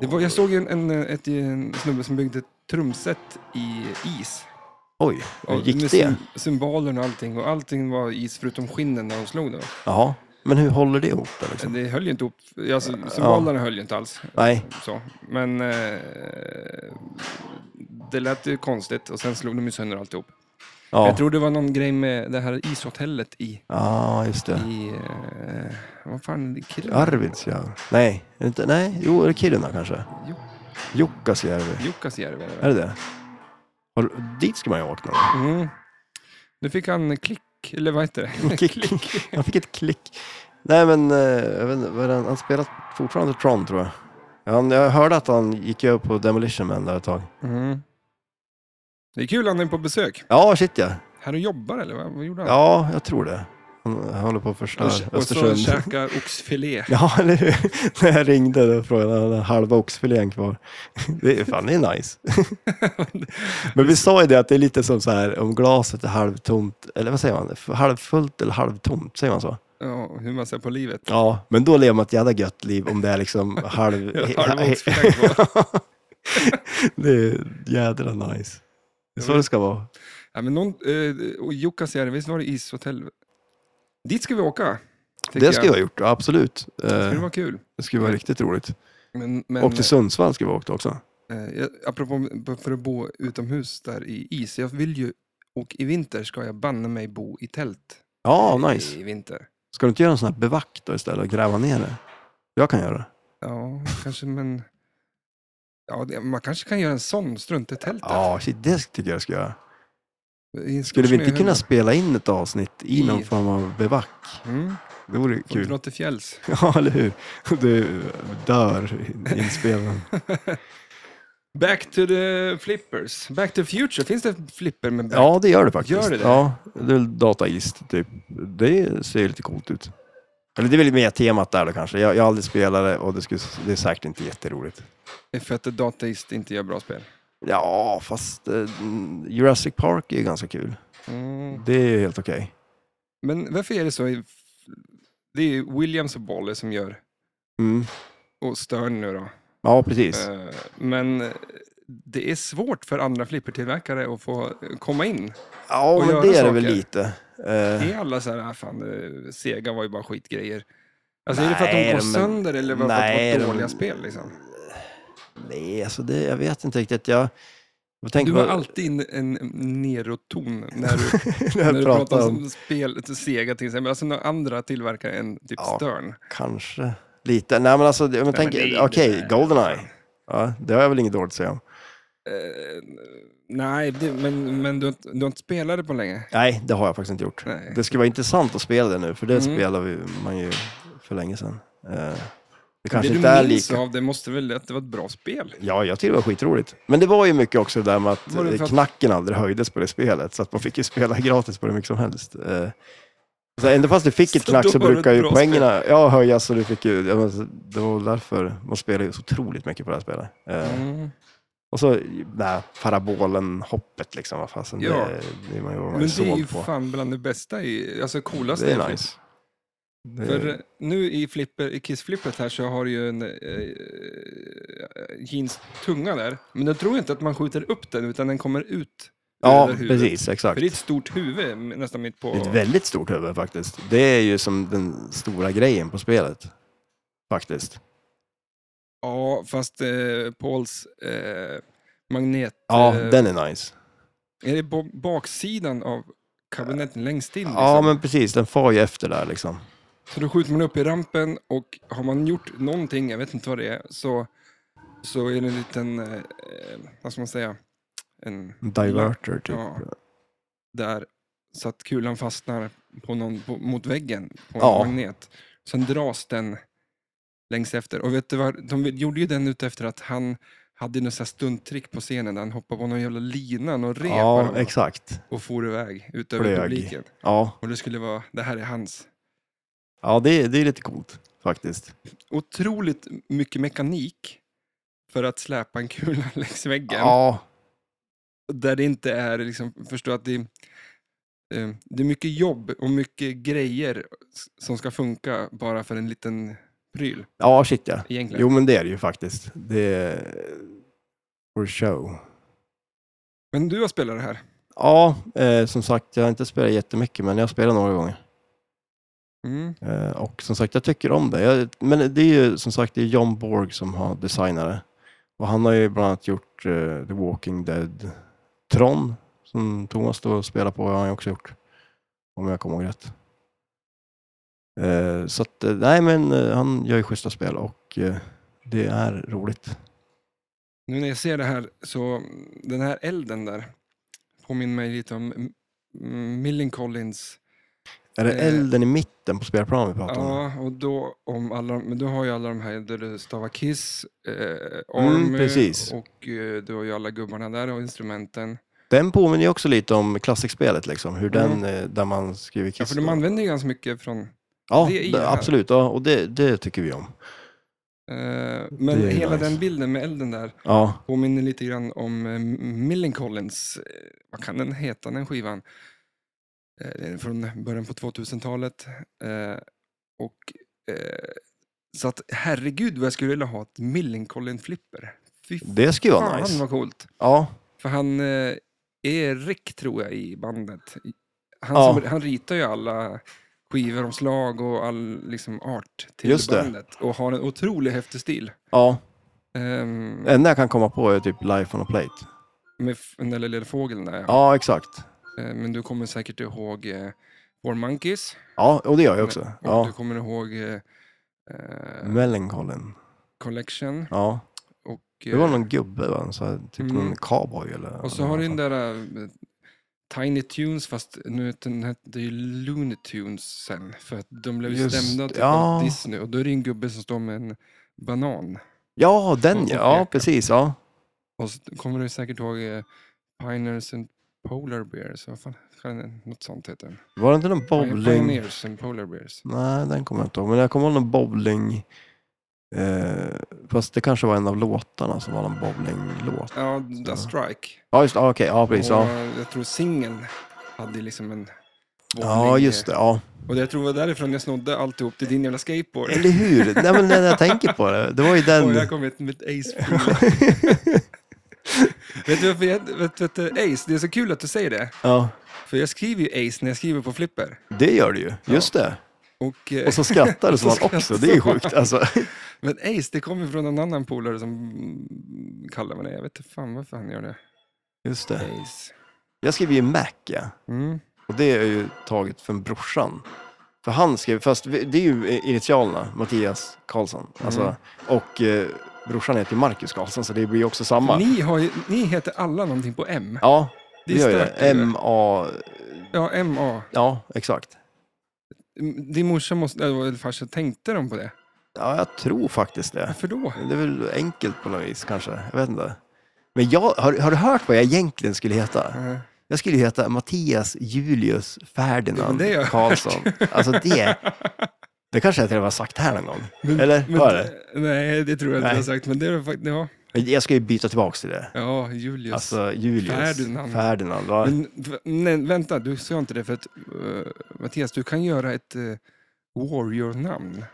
Det var, jag såg en, en, ett, en snubbe som byggde ett trumset i is.
Oj, hur
Och
gick
med
det?
sym- Symbolerna och allting och allting var is förutom skinnen när de slog det.
Jaha. Men hur håller det ihop? Då, liksom?
Det höll ju inte ihop. Alltså, symbolerna höll ju inte alls.
Nej,
Så. Men eh, det lät ju konstigt och sen slog de ju sönder alltihop.
ja,
Jag tror det var någon grej med det här ishotellet i...
ja just det.
i eh, vad fan, det är killen?
Arvids, ja. Nej, är det inte, nej, jo, är det Kiruna kanske?
Jo.
Jukkasjärvi.
Jukkasjärvi är det
Är
väl?
det det? Har, dit ska man ju ha åkt någon gång.
Mm. Nu fick han klick, eller vad heter
[LAUGHS]
det? klick.
Han fick ett klick. Nej, men eh, jag vet inte, vad är det han, han spelar fortfarande Tron tror jag. Han, jag hörde att han gick över på Demolition Man där ett tag.
Mm. Det är kul, han är på besök.
Ja, shit ja.
Här och jobbar eller vad, vad gjorde han?
Ja, jag tror det. Han håller på att
och,
förstöra
och så
Östersund.
käka oxfilé.
[LAUGHS] Ja, eller hur? När jag ringde då frågade han hade halva oxfilén kvar. [LAUGHS] Det är fan, det är nice. [LAUGHS] Men vi sa ju det att det är lite som så här om glaset är halvtomt, eller vad säger man? Halvfullt eller halvtomt, säger man så?
Ja, hur man ser på livet.
Ja, men då lever man ett jävla gött liv om det är
[LAUGHS]
liksom halv...
Halv oxfilé kvar.
det är jädra nice. Det är så det ska vara.
Ja, men någon, eh, och Jukkasjärvi, visst var det ishotell? Dit ska vi åka. tycker
Det skulle jag ha gjort, ja, absolut. Eh,
Det skulle vara kul.
Det skulle vara riktigt roligt.
Men, men,
Och till Sundsvall skulle vi ha åkt också.
eh, jag- apropå för att bo utomhus där i is. Jag vill ju, och i vinter ska jag banne mig bo i tält.
Ja,
i-
nice.
I vinter.
Ska du inte göra en sån här bevakt då istället och gräva ner det? Jag kan göra det.
Ja, kanske men... Ja, det, man kanske kan göra en sån, strunt i tältet.
Ja, shit, det tycker jag ska göra.
I en stor
Skulle vi inte kunna
snöhöna.
spela in ett avsnitt i
I-
någon form av bevack?
Mm,
Det vore
och
kul.
dra till fjälls.
[LAUGHS] Ja, eller hur? Du dör i inspelningen.
Back to the flippers. Back to the future. Finns det flipper med back
Ja, det gör det faktiskt.
Gör det det?
Ja, det är väl dataist, typ. Det ser ju lite coolt ut. Eller det är väl mer temat där då kanske. Jag, jag har aldrig spelat det och det, skulle, det är säkert inte jätteroligt.
För att dataist inte gör bra spel.
Ja, fast eh, Jurassic Park är ju ganska kul.
Mm.
Det är helt okej.
Men varför är det så? i- Det är ju Williams och Bolle som gör,
Mm.
och Stern nu då.
Ja, precis.
Eh, Men eh, det är svårt för andra flippertillverkare att få eh, komma in.
Ja,
och
men
göra
det är det
saker.
väl lite. Eh,
Är alla så här, ah, fan, eh, Sega var ju bara skitgrejer. Alltså är det för att
Nej,
de går
men-
sönder eller var- för att
Nej,
det
de-
var dåliga spel liksom?
Nej, alltså det, jag vet inte riktigt. Jag, jag tänker
Du har
på-
alltid en, en neroton när du,
[LAUGHS] när
när
jag
du
pratar
pratar
om...
om spel, Sega till exempel. Alltså några andra tillverkare än typ
Ja.
Stern.
Kanske lite. Nej, men alltså, det- men tänk,
men det är ju
okej,
det där.
Goldeneye. Ja, det har jag väl inget dåligt att säga om.
Eh, nej, det, men, men du, har inte- du har inte spelat det på länge?
Nej, det har jag faktiskt inte gjort.
Nej.
Det skulle vara intressant att spela det nu, för det
Mm.
spelar vi, man ju för länge sedan. Eh, det
det
kanske
du
inte är
minns
lika...
av det måste väl att det var ett bra spel?
Ja, jag tyckte det var skitroligt. Men det var ju mycket också det där med att
Var det
eh,
för att-
knacken aldrig höjdes på det spelet, så att man fick ju spela [LAUGHS] gratis på det mycket som helst. Eh, Så ändå fast du fick ett
Så
knack
då
så
var det
brukar
ett
ju
bra
poängerna ja, höjas. Så du fick ju, ja, men så- det var väl därför man spelade ju så otroligt mycket på det här spelet. Eh,
Mm.
Och så det här parabolen-hoppet liksom, vad fasen,
Ja.
det, det är man ju vad man
Men det är ju
såg på.
fan bland det bästa, i, alltså coolaste.
Det
i
är
flipper.
nice. Det är-
För eh, nu i, flipper, i Kiss-flippet här så har du ju en eh, jeans tunga där. Men jag tror inte att man skjuter upp den utan den kommer ut
ja,
över huvudet.
precis, exakt.
För det är ett stort huvud m- nästan mitt på.
Det är ett väldigt stort huvud faktiskt. Det är ju som den stora grejen på spelet. Faktiskt.
Ja, fast eh, Pauls eh, magnet...
Ja,
eh,
den är nice.
Är det på baksidan av kabinetten längst in? Liksom?
Ja, men precis. Den far ju efter där liksom.
Så då skjuter man upp i rampen och har man gjort någonting, jag vet inte vad det är, så, så är det en liten, eh, eh, vad ska man säga, en,
En Diverter typ.
ja, där så att kulan fastnar på någon, på, mot väggen på en
Ja.
magnet. Sen dras den längs efter. Och vet du vad, de gjorde ju den ute efter att han hade något stunttrick på scenen där han hoppade på någon jävla lina, någon rep
Ja,
bara,
exakt.
och for iväg ut över
Flög.
publiken.
Ja,
Och det skulle vara, det här är hans.
ja det, är- det är lite coolt faktiskt.
otroligt mycket mekanik för att släpa en kula [LAUGHS] längs väggen.
Ja,
Där det inte är, liksom, förstå att det, eh, det är mycket jobb och mycket grejer s- som ska funka bara för en liten pryl
ja shit ja.
egentligen.
Jo, men det är det ju faktiskt. Det är... For show.
Men du har spelat det här.
Ja, eh, som sagt, jag har inte spelat jättemycket, men jag har spelat några gånger.
Mm.
Eh, Och som sagt, jag tycker om det. Jag, men det är ju som sagt det är John Borg som har designat det. Och han har ju bland annat gjort eh, The Walking Dead Tron, som Thomas då spelar på, har han ju också gjort. Om jag kommer ihåg rätt. Eh, så att, eh, nej men eh, han gör ju schyssta spel och eh, det är roligt.
Nu när jag ser det här, så den här elden där påminner mig lite om M- M- Millen Collins.
Är det
Eh.
elden i mitten på spelplanen vi pratar om?
Ja, och då, om alla, de- men du har ju alla de här där du stavar Kiss, eh,
Mm,
Army
precis.
och eh, du har ju alla gubbarna där och instrumenten.
Den påminner ju också lite om klassikspelet liksom, hur
Mm.
den, eh, där man skriver kiss.
Ja, för de använder ju ganska mycket från... eh,
ja
det i
det-
det här.
absolut, ja, och det, det tycker vi om.
Eh,
Det
men
är ju
hela
nice.
den bilden med elden där
Ja,
påminner lite grann om eh, Millen Collins. Eh, vad kan den heta, den skivan? Eh, den är från början på 2000-talet. Eh, och, eh, så att herregud vad jag skulle vilja ha ett Millen Collins-flipper. Fy
Det skulle vara
fan
nice.
vad coolt.
Ja,
För han eh, är Rick tror jag i bandet. Han,
Ja.
som, han ritar ju alla skivomslag och all liksom, art till
Just det.
bandet. Och har en otroligt häftig stil.
ja.
Ehm,
Det enda jag kan komma på är typ Life on a Plate.
med f- den där lilla fågeln där. Ja.
Ja, exakt.
Eh, men du kommer säkert ihåg eh, Four Monkeys.
Ja, och det gör jag också.
Och
Ja.
du kommer ihåg eh, eh,
Melancholen.
Collection.
Ja.
Och,
Det var
eh,
någon gubbe, va? Så här, typ
Mm.
någon cowboy eller...
och så har du den där eh, Tiny Tunes, fast nu är den hette det ju Looney Tunes sen. För att de blev ju
Just-
stämda typ
ja.
av Disney. Och då är det ju en gubbe som står med en banan.
Ja, den
Och-
ja.
och
Ja,
peka.
precis. Ja.
Och så kommer du säkert ihåg eh, Pioneers and Polar Bears. Vad fan, något sånt heter den.
Var det inte någon bowling...
Pioneers and Polar Bears.
Nej, den kommer jag inte ihåg. Men jag kommer ihåg någon bowling... Eh, fast det kanske var en av låtarna som var någon bowlinglåt.
Ja, The Strike.
Ja, just det. Ja, okej. Ja, precis.
Och eh,
Ja,
jag tror singeln hade liksom en... eh,
ja just det. Ja.
Och jag tror det var därifrån jag snodde alltihop till din jävla skateboard.
Eller hur? Nej, men när jag tänker på det. Det var ju
Och
den...
jag kom hit med ett [LAUGHS] ace Vet du varför jag, vet, vet, du, eh, ace, det är så kul att du säger det.
Ja,
För jag skriver ju ace när jag skriver på flipper.
det gör du ju. Just det.
Och, eh,
Och så skrattar [LAUGHS] du som
Så
han också,
skrattar
det är ju
som
sjukt. Alltså.
Men ace, det kommer från en annan polare som mm, kallar mig det. Jag vet inte fan varför han gör det.
Just det.
Ace.
Jag skrev ju Mac, ja.
Mm.
Och det är ju taget från brorsan. För han skrev, fast vi- det är ju initialerna, Mattias Karlsson. Alltså,
Mm.
Och eh, brorsan heter ju Marcus Karlsson, så det blir ju också samma.
Ni, har ju, ni heter alla någonting på M.
Ja, det
Det är
gör ju det.
stört, eller?
M-A...
Ja, MA.
Ja, exakt.
Mm, Din morsa måste, eller farsa, tänkte de på det?
Ja, jag tror faktiskt det.
Varför då?
Det är väl enkelt på något vis kanske, jag vet inte. Men jag, har, har du hört vad jag egentligen skulle heta?
Nej.
Jag skulle ju heta Mattias Julius
Ja, men
Ferdinand
det har jag
Karlsson. Alltså det, det kanske jag till och med har sagt här någon gång.
Men-
Eller
men-
var det?
Nej, det tror jag inte
Nej.
jag har sagt. Men det är faktiskt, ja.
Jag ska ju byta tillbaks till det.
ja, Julius.
Alltså Julius
Ferdinand.
Ferdinand. Ferdinand va?
Men v- nej, vänta, du sa inte det för att eh, Mattias, du kan göra ett eh, warrior-namn.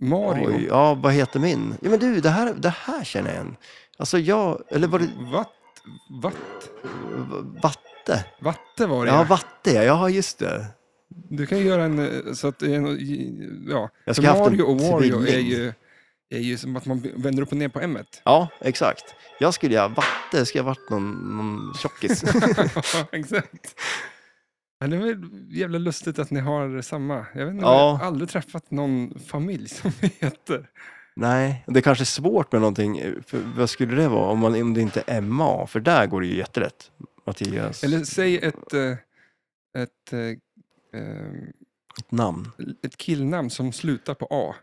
Mario.
Oj, ja, vad heter min? Ja, men du, det här, det här känner jag igen. Alltså jag, eller var det
Vatt, vatt,
v- Vatte?
vatte var det
Ja, Vatte, ja, ja just det.
Du kan göra en, eh, så att, det är en- ja.
Jag
För
skulle haft en
Mario och warrior är
tvilling.
ju, är ju som att man vänder upp och ner på M. [LAUGHS]
Ja, exakt. Jag skulle ju ha Vatte, skulle jag ha varit någon, någon tjockis. [LAUGHS]
Exakt. Ja, det är väl jävla lustigt att ni har samma. Jag vet inte,
Ja.
jag har aldrig träffat någon familj som [LAUGHS] heter.
Nej, det kanske är svårt med någonting. eh, För vad skulle det vara om, man, om det inte är MA? För där går det ju jätterätt. Mattias,
Eller säg ett, eh, ett, eh, eh,
ett namn.
ett killnamn som slutar på A.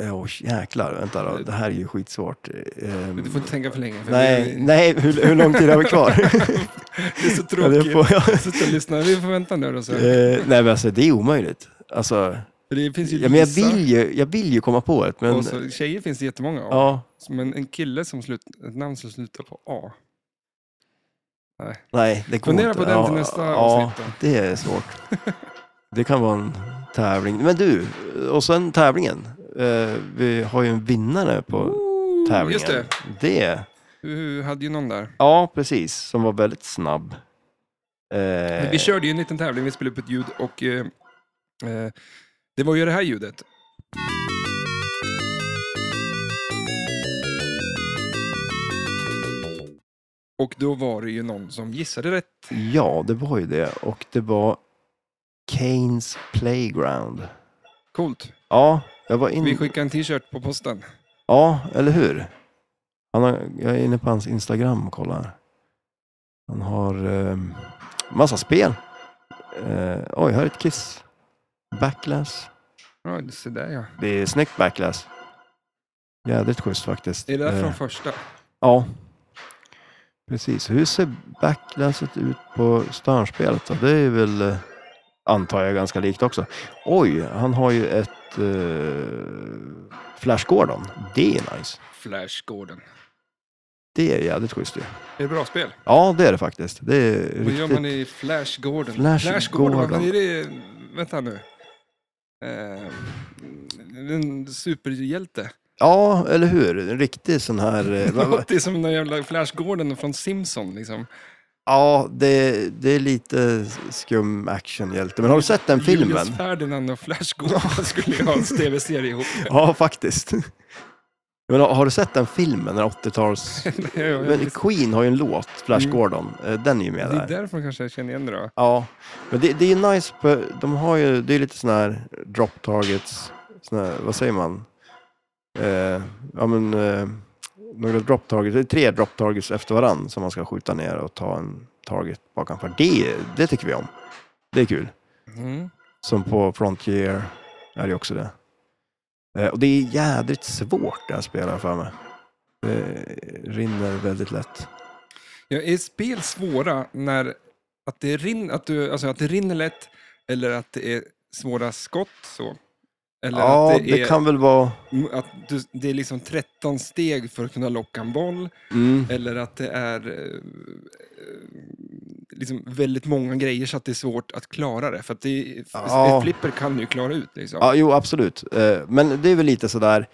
Åh Eh, jäklar, vänta då. Det här är ju skitsvårt. Ehm,
Du får inte tänka för länge. För
nej,
vi-
nej hur, hur lång tid har vi kvar?
[LAUGHS] Det är
[LAUGHS]
så
Ja,
tråkigt.
det får jag.
Sitta och lyssna. Vi får vänta nu då. Så.
Eh, nej, men alltså det är omöjligt. Alltså,
För Det finns ju
ja, men jag,
Lisa,
vill ju, jag vill ju komma på ett, men...
och så, tjejer finns det jättemånga av.
Ja,
Men en kille som slut, ett namn som slutar på A.
nej, det går
Fundera
inte.
på den till
ja,
nästa
ja,
avsnitt då.
det är svårt. Det kan vara en tävling. Men du, och sen tävlingen. Eh, vi har ju en vinnare på tävlingen.
Just det.
det.
Du hade ju någon där.
Ja, precis. Som var väldigt snabb. Eh,
Men Vi körde ju en liten tävling, vi spelade upp ett ljud och eh, Eh, Det var ju det här ljudet. Och då var det ju någon som gissade rätt.
Ja, det var ju det. Och det var Keynes Playground.
Coolt.
Ja, jag var inne...
Vi skickar en t-shirt på posten.
Ja, eller hur? Han har, jag är inne på hans Instagram och kollar. Han har eh, massa spel. Eh, oj, här är ett Kiss. Backlash.
Ja, se där ja.
Det är snyggt Backlash. Jädrigt schysst faktiskt.
Är det där
Eh,
från första?
Ja. Precis. Hur ser backlasset ut på Störnspelet då? Det är väl, eh, antar jag, ganska likt också. Oj, han har ju ett eh, Flash Gordon. Det är nice.
Flash Gordon.
Det är jävligt schysst ju.
Det är bra spel.
Ja, det är det faktiskt. Det är
Vad gör man
riktigt...
i Flash Gordon?
Flash
Gordon,
Gordon.
är det... Vänta nu. Eh, en superhjälte.
Ja, eller hur? En riktig sån här...
[LAUGHS]
eh, vad- vad-
Det är som den jävla Flash Gordon från Simpson liksom.
ja, det, det är lite skum actionhjälte. Men har du sett den filmen?
Julius Ferdinand och Flash Gordon [LAUGHS] skulle ju ha en
[LAUGHS]
tv-serie ihop.
Ja, faktiskt. [LAUGHS] Men har, har du sett den filmen, den 80-tals...
[LAUGHS] Ja, ja,
Men
visst.
Queen har ju en låt, Flash
Mm.
Gordon. Eh, Den är ju
det
med där.
är därför kanske jag känner igen det då.
Ja, men det, det är ju nice. På, de har ju, det är lite sån här drop targets, sån här, vad säger man? Eh, ja men, eh, några drop targets, det är tre drop targets efter varann som man ska skjuta ner och ta en target bakanför. Det, det tycker vi om. Det är kul.
Mm.
Som på Frontier är det också det. Eh, och det är jädrigt svårt det här spelet har jag för mig. Det rinner väldigt lätt.
Ja, är spel svåra när att det, rin, att, du, alltså att det rinner lätt eller att det är svåra skott? Så? Eller
Ja,
att det,
det
är,
kan väl vara...
att du, det är liksom 13 steg för att kunna locka en boll?
Mm.
Eller att det är eh, eh, liksom väldigt många grejer så att det är svårt att klara det? För att det,
Ja.
ett flipper kan ju klara ut liksom.
Ja, jo, absolut. Eh, Men det är väl lite sådär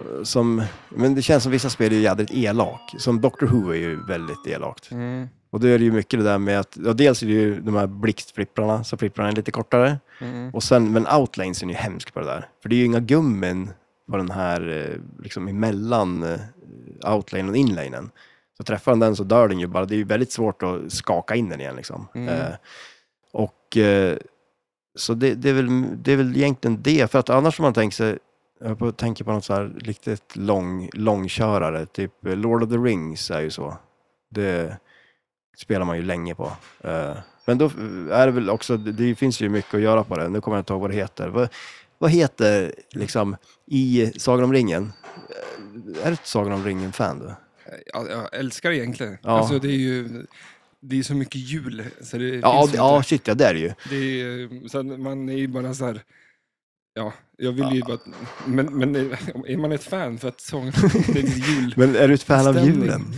eh, som... Men det känns som vissa spel är ju jädrigt elak. Som Doctor Who är ju väldigt elakt.
Mm,
Och då är det ju mycket det där med att... Ja, dels är det ju de här blixtflipprarna, så flipprarna är lite kortare.
mm.
Och sen, men outlanes är ju hemsk på det där. För det är ju inga gummin på den här, eh, liksom emellan eh, outlane och inlanen. Så träffar den den så dör den ju bara. Det är ju väldigt svårt att skaka in den igen liksom.
Mm.
Eh, och eh, så det, det, är väl, det är väl egentligen det. För att annars om man tänker sig, jag på- tänker på något så här riktigt lång, långkörare, typ eh, Lord of the Rings är ju så. Det spelar man ju länge på. Eh, Men då är det väl också, det- det finns ju mycket att göra på det. Nu kommer jag inte ihåg vad det heter. Vad, vad heter liksom i Sagan om ringen? Eh, Är du ett Sagan om ringen-fan du?
Jag, jag älskar det egentligen.
Ja.
Alltså det är ju det är så mycket hjul. Så det
Ja,
finns ju
ja,
inte.
shit ja, det är det ju.
Det är, så att man är ju bara så här... Ja, jag vill ju bara... Men, men eh, är man ett fan för att sången det är jul...
Men är du ett fan av
Stämning.
julen?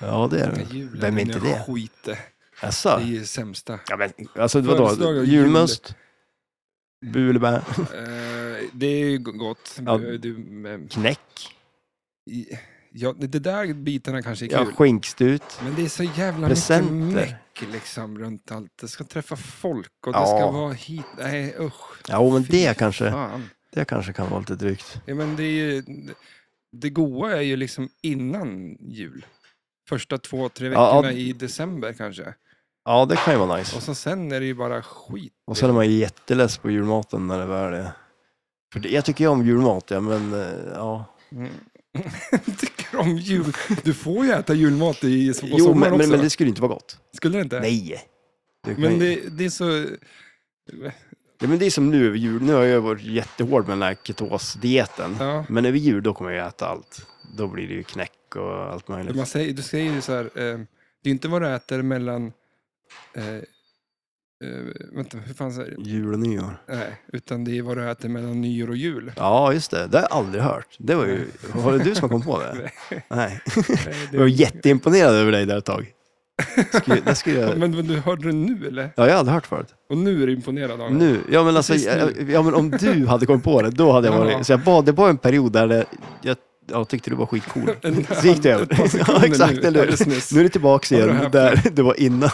Ja, det är du.
Julen,
Vem är inte
den
det?
Skit det.
Jaså?
Det är ju sämsta.
Ja, men alltså
Födelsedag
vadå?
och
Julmust? Bulebär?
Eh, det är ju gott.
Ja.
Du, men-
Knäck?
i- ja, det det där bitarna kanske är
Ja,
kul.
skinkstut?
men det är så jävla
Presenter.
mycket meck liksom runt allt. Det ska träffa folk och det
Ja.
ska vara hit. Nej usch.
Ja, men
Fy
det kanske,
Fan.
det kanske kan vara lite drygt.
Ja, men det, är ju, det goa är ju liksom innan jul. Första två, tre
Ja,
veckorna
ja.
i december kanske.
Ja, det kan ju vara nice.
Och så sen är det ju bara skit.
Och
[LAUGHS]
sen är man ju jätteless på julmaten när det väl är. För det, jag tycker ju om julmat, ja, men eh, ja.
Mm. Tycker om jul. Du får ju äta julmat i, på
Jo,
sommaren
men, men,
också.
men det skulle inte vara gott.
Skulle det inte?
Nej. Du kan
Men
ju-
det, det är så...
ja, men det är som nu över jul. Nu har jag varit jättehård med den här ketosdieten.
Ja.
Men över jul, då kommer jag ju äta allt. Då blir det ju knäck och allt möjligt.
Man säger, du säger ju så här, eh, det är inte vad du äter mellan... Eh, eh, vänta, hur fan säger det?
Jul och nyår.
Nej, utan det är vad du äter mellan nyår och jul.
Ja, just det. Det har jag aldrig hört. Det var ju... Var det du som kom
[LAUGHS]
på det? Nej.
Nej, det-
Jag var jätteimponerad över dig där ett tag. Skulle, det skulle
[LAUGHS]
jag...
Men, men du hörde det nu eller?
Ja, jag har aldrig hört förut.
Och nu är du imponerad av mig.
Nu? Ja men, alltså,
Precis
jag- ja, men om du hade kommit på det, då hade jag varit...
Ja.
Så jag bad, det var en period där det, jag, jag tyckte du var [LAUGHS] skitcool.
En-
Så gick det
ett par
över.
sekunder
Ja, exakt,
nu,
eller hur?
alldeles nyss.
Nu är det tillbaka
Har du
igen,
haft
där det var innan.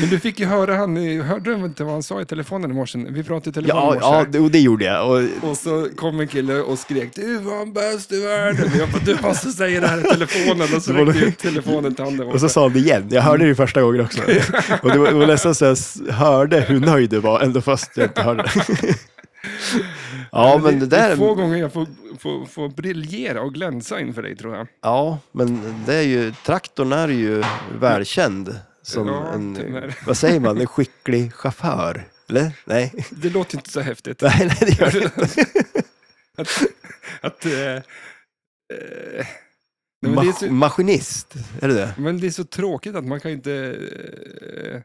Men du fick ju höra han, i- hörde du inte vad han sa i telefonen i morse? Vi pratade i telefon
Ja,
i morse.
ja
här.
det, och det gjorde jag. Och,
Och så kom en kille och skrek du var bäst i världen. Och Jag bara, du måste säga det här i telefonen. Och så
Det var-
räckte jag ut telefonen till
[LAUGHS]
handen.
och så sa han det igen. Jag hörde det första gången [LAUGHS] också. Och det var, det var nästan så jag s- hörde hur nöjd du var, ändå fast jag inte hörde. [LAUGHS] Ja, men det
är få
där...
gånger jag får, får, får briljera och glänsa inför dig tror jag.
Ja, men det är ju... Traktorn är ju välkänd som
Ja,
en...
tyvärr.
Vad säger man? En skicklig chaufför? Eller? Nej, [LAUGHS]
Det låter inte så häftigt.
nej, [LAUGHS] nej det gör det inte.
[LAUGHS] Att, att, eh, eh, nej, men, det är
Mas-
så,
maskinist, är det det?
men det är så tråkigt att man kan inte... Eh,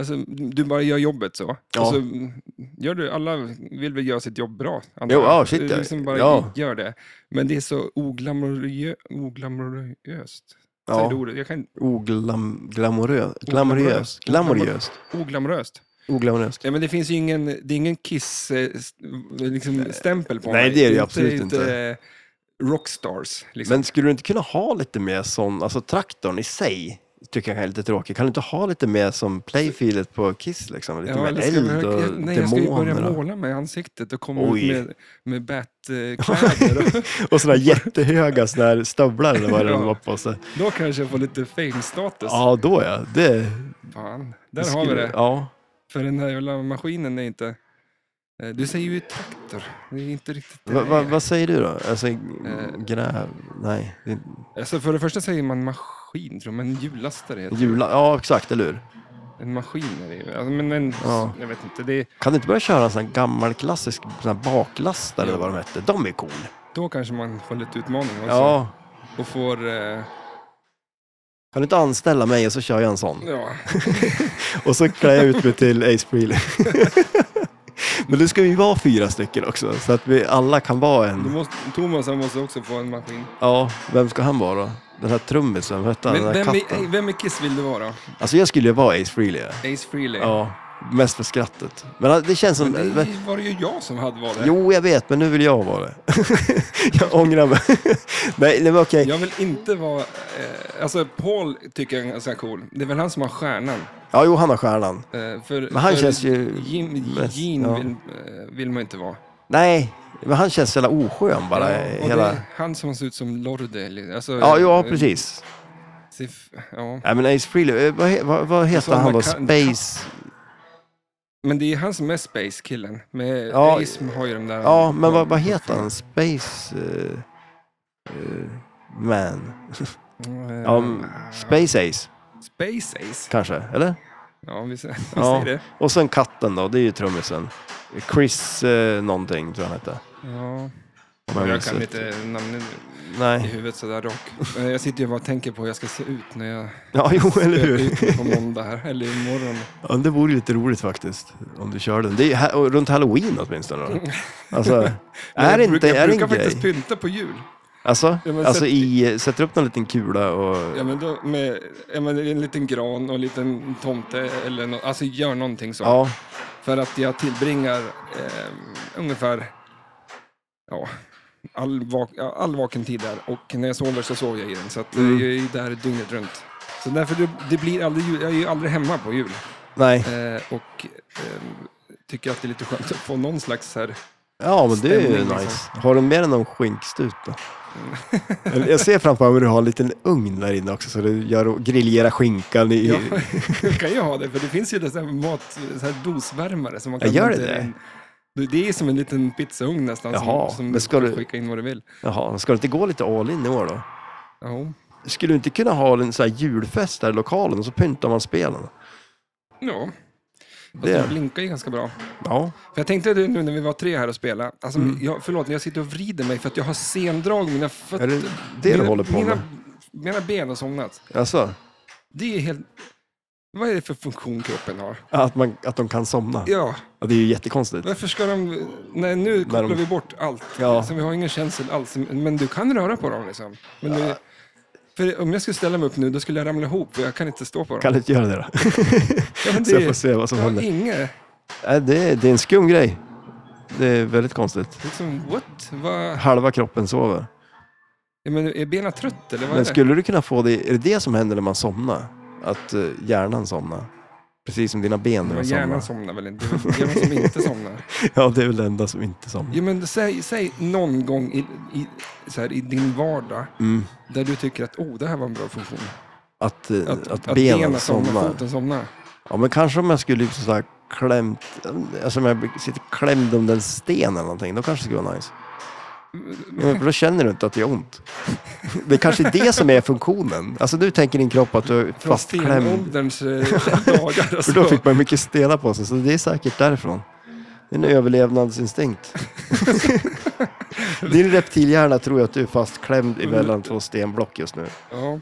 alltså, du bara gör jobbet så.
Ja.
Alltså, gör du, alla vill väl göra sitt jobb bra? antar
Jo,
jag.
ja, shit,
Det är
ja.
liksom bara
Ja.
gör det. Men det är så oglamorö- oglamoröst. Säger du
Ja.
ordet? Jag kan,
Oglamoröst.
Oglamorös.
Glamoröst. Glamoröst.
oglamoröst.
Oglamoröst.
Ja, men det finns ju ingen, det är ingen Kiss-stämpel liksom, stämpel på
Nej,
mig.
det är det absolut
eh, Rockstars, liksom.
Men skulle du inte kunna ha lite mer sån, alltså traktorn i sig tycker jag är lite tråkig. Kan du inte ha lite mer som playfieldet på Kiss liksom? Lite
Ja,
mer
eller ska jag
eld och
börja- jag, nej, jag ska ju börja
demoner och,
måla mig i ansiktet och komma
Oj.
ut med, med
[LAUGHS]
Bat-kläder.
och sådana jättehöga såna här stövlar eller
[LAUGHS]
vad det
Ja.
var på sig.
Då kanske jag får lite fame-status.
Ja, då ja. Det,
Fan,
det
där har vi
skulle-
det.
Ja.
För den här jävla maskinen är inte... eh, Du säger ju traktor. Det är inte riktigt det.
Va, va, vad säger du då? Alltså,
Eh.
gräv... Nej. det är-
Alltså, för det första säger man maskin, tror jag, men hjullastare heter
Jula, ja, exakt, eller hur?
En maskin är det ju. Alltså, men en,
Ja.
Jag vet inte, det är...
Kan du inte börja köra en sån här gammal klassisk sån här baklastare eller vad de hette? De är cool.
Då kanske man får lite utmaning också.
Ja.
Och får... Eh,
Kan du inte anställa mig och så kör jag en sån?
ja.
Och så klär jag ut mig till Ace Frehley. [LAUGHS] Men nu ska vi vara fyra stycken också, så att vi alla kan vara
Då
en.
måste, Thomas han måste också få en maskin.
Ja, vem ska han vara då? Den här trummisen, vad hette han?
Men
Den här
vem,
katten?
i, eh, vem i Kiss vill du vara?
Alltså jag skulle ju vara Ace Frehley.
Ace Frehley?
Ja, mest för skrattet. Men ah, det känns som...
Men det
men-
var det ju jag som hade valet.
Jo, jag vet, men nu vill jag vara det. [LAUGHS] jag ångrar mig. [LAUGHS] nej, nej, men okej.
Jag vill inte vara... Eh, alltså Paul tycker jag är ganska cool. Det är väl han som har stjärnan.
Ja, jo, han har stjärnan.
Eh, för,
Men han
för
känns ju
Jim,
mest-
Jean
ja.
vill, eh, vill man inte vara.
Nej, men han känns så jävla oskön bara.
ja, och
hela...
det är han som ser ut som Lorde. eller- Alltså,
Ja, ja,
eh,
precis.
Sif, ja.
Nej, men Ace Frehley, eh, vad, he- vad, vad heter
Sådana
han då?
kan-
Space...
Men det är han som är Space-killen. Men
Ja.
Ace har ju den där...
Ja, men vad, vad heter han? Space... eh, eh, man.
Eh,
Ja, m- Space Ace,
Space Ace.
kanske? Eller?
Ja, [LAUGHS] vi säger, vi
Ja.
säger det.
Och sen katten då, det är ju trummisen. Chris eh, någonting tror jag han hette.
Ja.
Om
Jag
minns
kan
rätt.
inte namnen i
Nej.
huvudet sådär dock. Eh, Jag sitter ju bara och tänker på hur jag ska se ut när
[LAUGHS]
jag
Ja, jo,
[LAUGHS]
Oh, eller
spöar
hur?
ut mig på måndag här, eller imorgon.
Ja, det vore ju lite roligt faktiskt, om du körde den. Det är ju här, och runt halloween åtminstone
[LAUGHS]
då. Alltså, [LAUGHS]
Men
är det
jag
inte
brukar, jag
är det
brukar
en
faktiskt
grej?
pynta på jul.
Alltså,
Ja, men
alltså
sätt-
i, sätter upp någon liten kula och...
Ja, men då, med, ja, men en liten gran och en liten tomte, eller nå- alltså gör någonting så.
Ja,
För att jag tillbringar eh, ungefär ja, all, vak ja, all vaken tid där och när jag sover så sover jag i den. Så att, eh,
Mm.
jag är ju där dygnet runt. Så därför det, det blir aldrig jul, jag är ju aldrig hemma på jul.
nej.
Eh, och ehm, tycker att det är lite skönt att få någon slags här...
Ja, men det är ju
stämning,
nice.
liksom.
Har du med dig någon skinkstut
[LAUGHS]
då? Eller, Jag ser framför mig att du har en liten ugn där inne också, så du gör och grillerar skinkan i...
Ja, [LAUGHS] jag kan ju ha det, för det finns ju dessa mat, så här dosvärmare som man
Ja,
kan...
gör det
inte-
det?
det? Det är som en liten pizzaugn nästan
Jaha,
som, som
men ska
du
du-
får skicka in vad du vill.
Jaha, ska du inte gå lite all in i år då?
Ja,
Skulle du inte kunna ha en sån här julfest där i lokalen och så pyntar man spelen?
ja. Fast
Det-
det blinkar ju ganska bra.
Ja.
För jag tänkte det nu när vi var tre här och spelade. Alltså,
Mm.
jag, förlåt, jag sitter och vrider mig för att jag har sendrag i mina fötter.
Är det det du
mina,
håller på
mina,
med?
mina ben har somnat.
Alltså,
Det är helt... Vad är det för funktion kroppen har?
att, man, att de kan somna.
Ja,
Ja, det är ju jättekonstigt.
varför ska de... Nej, nu kopplar
de-
vi bort allt.
Ja.
Så vi har ingen känsel alls. Men du kan röra på dem liksom. Men du... För om jag skulle ställa mig upp nu, då skulle jag ramla ihop. för Jag kan inte stå på dem.
Kan du inte göra det då?
Ja,
[LAUGHS]
men
Så jag får se vad som
jag har
händer.
inget...
Nej, det, det är en skum grej. Det är väldigt konstigt.
Liksom, what? Vad...
Halva kroppen sover.
Ja, men är benen trött eller vad är
Men
det?
skulle du kunna få det, är det det som händer när man somnar? Att eh, hjärnan somnar? Precis som dina ben när
Men
de
hjärnan
somnar.
somnar väl inte? Det är hjärnan som
[LAUGHS]
inte somnar.
Ja, det är väl det enda som inte somnar.
Jo, men säg, säg någon gång i, i, så här, i din vardag
Mm.
där du tycker att oh, det här var en bra funktion.
Att, eh,
Att,
att, benen, somnar.
Foten somnar.
Ja, men kanske om jag skulle liksom så här klämt, alltså om jag sitter klämd under en sten eller någonting, då kanske det skulle vara nice.
Mm.
Men för då känner du inte att det gör ont. Det är kanske är det som är funktionen. Alltså nu tänker din kropp att du är
Från
fastklämd. [LAUGHS]
stenålderns eh, dagar.
För då
Alltså.
fick man mycket stenar på sig, så det är säkert därifrån. Det är en
[LAUGHS]
överlevnadsinstinkt. Din reptilhjärna tror ju att du är fastklämd emellan två stenblock just nu.
Ja.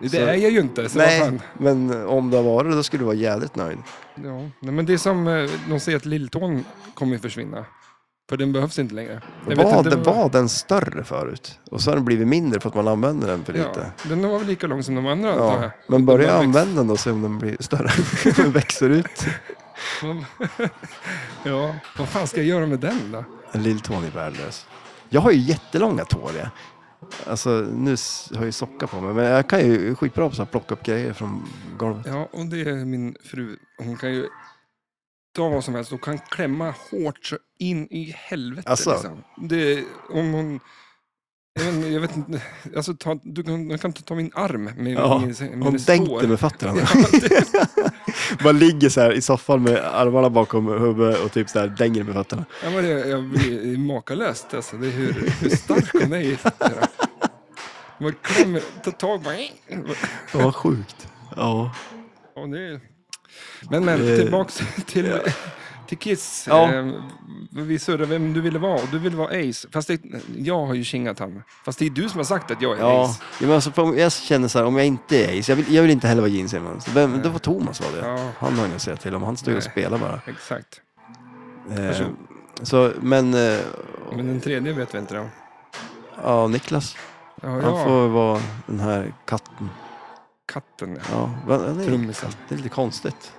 Det
Så-
är jag ju inte. Så vad
Nej,
fan.
men om det var det, då skulle du vara jävligt nöjd.
Ja. Nej, men det är som eh, de säger att lilltån kommer ju försvinna. För den behövs inte längre. Jag vet
var,
inte
det
vad-
var den större förut? Och så har den blivit mindre för att man använder den för lite.
Ja, den var väl lika lång som de andra antar
Ja,
jag.
men
De
börja
har växt.
använda den och se om den blir större. [LAUGHS] den växer ut.
[LAUGHS] Ja, vad fan ska jag göra med den då?
En lilltån är värdelös. Jag har ju jättelånga tår. Jag. Alltså, nu s- har jag ju sockar på mig, men jag kan ju skitbra på att plocka upp grejer från golvet.
Ja, och det är min fru. Hon kan ju ta vad som helst och kan klämma hårt så in i helvete.
Alltså?
Liksom. Det, om hon... Jag vet, inte- jag vet inte, alltså ta, du kan, du kan ta min arm med,
Ja,
med, med,
Hon
det sår.
dänkte
[LAUGHS]
med fötterna.
Ja, det,
Man ligger så här i soffan med armarna bakom huvudet och typ så här dänger med fötterna.
ja, men det, jag blir makalöst alltså. Det är hur, hur stark hon är
[LAUGHS]
i fötterna. Man klämmer, tar tag, bara-
Ja, vad sjukt. Ja.
Ja, det är... Men, men
Eh,
tillbaks [LAUGHS] till, till Kiss.
Ja.
Eh, Vi surrade vem du ville vara och du ville vara Ace. Fast det, jag har ju kingat han. Fast det är du som har sagt att jag är
Ja,
Ace.
ja men alltså, för om- jag känner så här, om jag inte är Ace, jag vill, jag vill inte heller vara Gene Simmons. Vem, det var Thomas var det.
Ja.
Han har inget att säga till om, han står ju och
Nej.
spelar bara.
Exakt.
Eh,
Person.
så, men, eh,
Men den tredje vet vi inte då.
ja, Niklas,
Ja,
han
ja.
får vara den här katten.
Katten, ja.
Ja, va- ja, det, är,
Trummisen.
det är lite konstigt.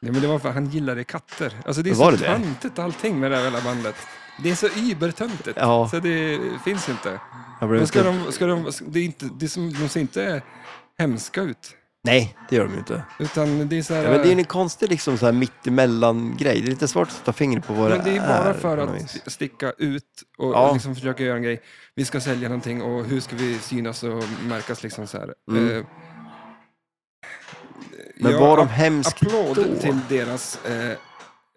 Nej, men det var för han gillade katter. Alltså det är
Var
så
det det?
töntigt allting med det här jävla bandet. Det är så übertöntigt.
Ja.
Så det finns inte.
Jag blev
Men ska
inte-
de, ska de, det är inte, det är som, de ser inte hemska ut.
Nej, det gör de ju inte.
Utan det är så här...
Ja, men det är ju en konstig liksom, så här, mittemellan-grej. Det är lite svårt att ta fingret på vad
Men det är ju bara för
på
att
något vis.
sticka ut och
Ja.
liksom försöka göra en grej. Vi ska sälja någonting och hur ska vi synas och märkas liksom så här.
Mm.
Eh,
Men
ja,
var de
a-
hemskt
Applåd
då?
till deras eh,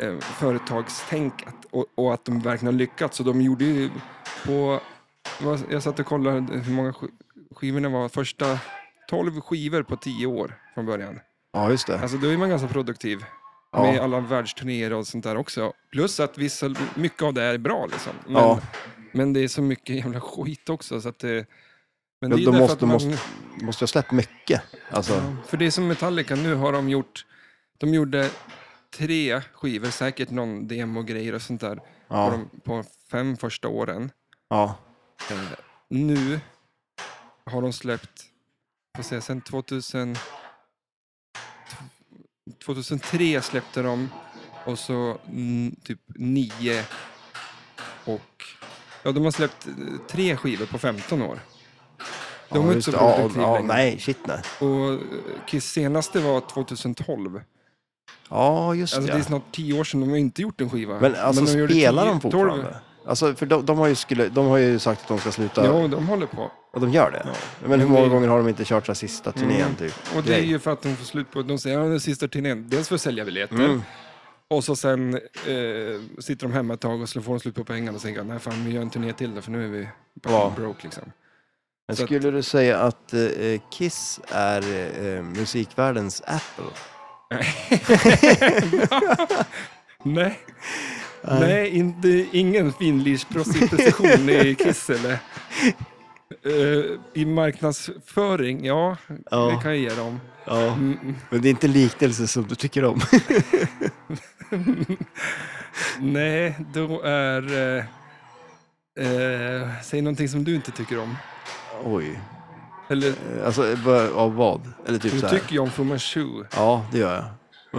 eh, företagstänk att, och, och att de verkligen har lyckats. Så de gjorde ju på... vad- Jag satt och kollade hur många sk- skivorna var. Första 12 skivor på 10 år från början.
Ja, just det.
Alltså då är man ganska produktiv
Ja.
med alla världsturnéer och sånt där också. Plus att vissa, mycket av det är bra liksom. Men,
Ja.
men det är så mycket jävla skit också så att det... Men
Ja,
ju
de
därför
måste-
att man-
måste- Måste jag släppt mycket? Alltså,
För det är som Metallica, nu har de gjort... De gjorde tre skivor, säkert någon demogrejer och sånt där, på,
ja.
de, på fem första åren.
ja.
Eh, nu har de släppt, vad säger jag, sen 2000, 2003 släppte de och så mm, typ nio och ja, de har släppt eh, tre skivor på 15 år. De är
ja,
inte
just
så
det. Ja,
produktiva
ja,
längre.
Nej, shit nej.
Och eh, Kiss senaste var 2012.
Ja, just
Alltså det är
det.
snart 10 år sedan de har inte gjort en skiva.
Men alltså
de gjorde
spelar
10
de
12
fortfarande? Alltså, för de, de, har ju skulle, de har ju sagt att de ska sluta,
Ja, de håller på.
och de gör det. Men hur många gånger har de inte kört så här sista turnén
Mm.
typ?
Och det är ju för att de får slut på, de säger ja, den sista turnén, dels för att sälja biljetter,
Mm.
och så sen eh, sitter de hemma ett tag och så får de slut på pengarna och tänker nej fan vi gör en turné till då, för nu är vi
Ja.
broke liksom.
Men
så att-
skulle du säga att eh, Kiss är eh, musikvärldens Apple?
Nej, nej inte, ingen
[LAUGHS]
finlirsprostitution i Kiss eller? Eh, I marknadsföring, ja,
Ja.
det kan jag ge dem.
Ja.
Mm,
Men det är inte en liknelse som du tycker om. [LAUGHS]
nej, då är... Eh, eh, säg någonting som du inte tycker om.
Oj.
Eller
Eh, Alltså, vad- av vad? Eller typ
Du
så här.
tycker ju om From a Shoe.
Ja, det gör jag.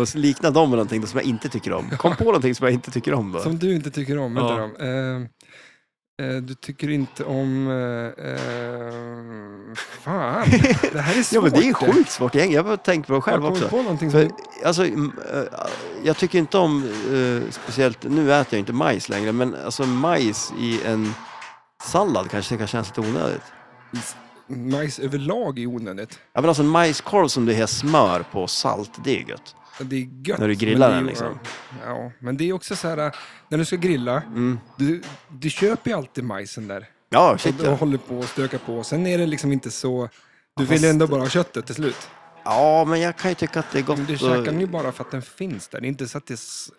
Och så likna dem med någonting som jag inte tycker om. Kom på någonting som jag inte tycker om då.
Som du inte tycker om.
Ja.
Ja. Dem. Eh, Eh, Du tycker inte om... eh, eh,
[LAUGHS]
Fan, det här är svårt.
Ja, men det är sjukt svårt gäng. Jag har tänkt på det
Jag
själv
kommer
också.
på någonting
För,
som...
alltså, m- eh, jag tycker inte om eh, speciellt, nu äter jag inte majs längre, men alltså majs i en sallad kanske det kan kännas lite onödigt.
Majs överlag är onödigt.
Ja men alltså en majskorv som det är smör på och salt, det är gött.
Det är gött.
När du grillar
men det är
den,
ju-
liksom.
Ja, men det är också så här, eh, när du ska grilla, du, du köper ju alltid majsen där.
Ja, Mm. shit
och
ja.
håller på och stökar på. Sen är det liksom inte så... Du
fast-
vill ju ändå bara ha köttet till slut.
Ja, men jag kan ju tycka att det är gott.
Men du
och-
käkar den ju bara för att den finns där. Det är inte så att det är s-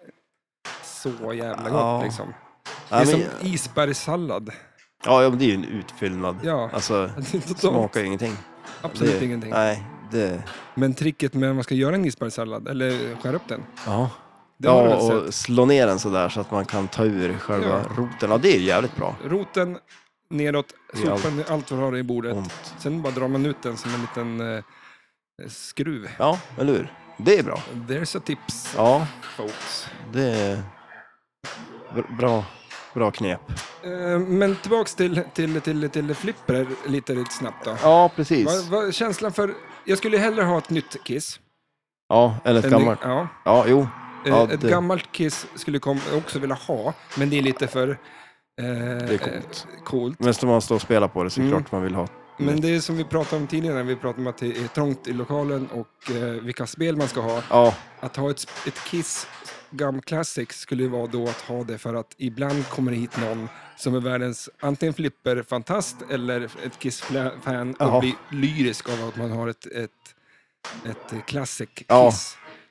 så jävla gott
Ja.
liksom. Det
ja,
är
men,
som isbergssallad. [LAUGHS]
ja, ja, men det är ju en utfyllnad.
Ja.
Alltså,
Det är totalt-
smakar ju ingenting.
Absolut
det,
ingenting.
Nej, det...
Men tricket med att man ska göra en isbergssallad, eller skära upp den.
Ja.
Det har
ja,
du väl
och slå ner den sådär så att man kan ta ur själva
Ja.
roten. Ja, det är ju jävligt bra.
Roten neråt,
Det är Mm.
sopa ner allt vad du har i bordet.
Ont.
Sen bara drar man ut den som en liten eh, skruv.
Ja, eller hur? Det är bra.
There's a tips,
Ja,
folks.
det är br- bra, bra knep.
Eh, Men tillbaks till, till, till, till flipper lite, lite snabbt då.
Ja, precis.
Vad, vad, känslan för... Jag skulle hellre ha ett nytt Kiss.
Ja, eller ett
Än-
gammalt.
Ja.
Ja, jo.
Eh,
Ja,
ett
det-
gammalt Kiss skulle kom- jag också vilja ha, men det är lite för... Eh, det
är coolt.
Eh, coolt.
Men ska man stå och spela på det så är det
Mm.
klart man vill ha.
Men det är som vi pratade om tidigare, när vi pratade om att det är trångt i lokalen och eh, vilka spel man ska ha.
Ja,
Att ha ett, ett Kiss Gum Classic skulle ju vara då att ha det för att ibland kommer det hit någon som är världens antingen flipper-fantast eller ett Kiss-fan och
Jaha.
blir lyrisk av att man har ett, ett, ett classic Kiss.
Ja.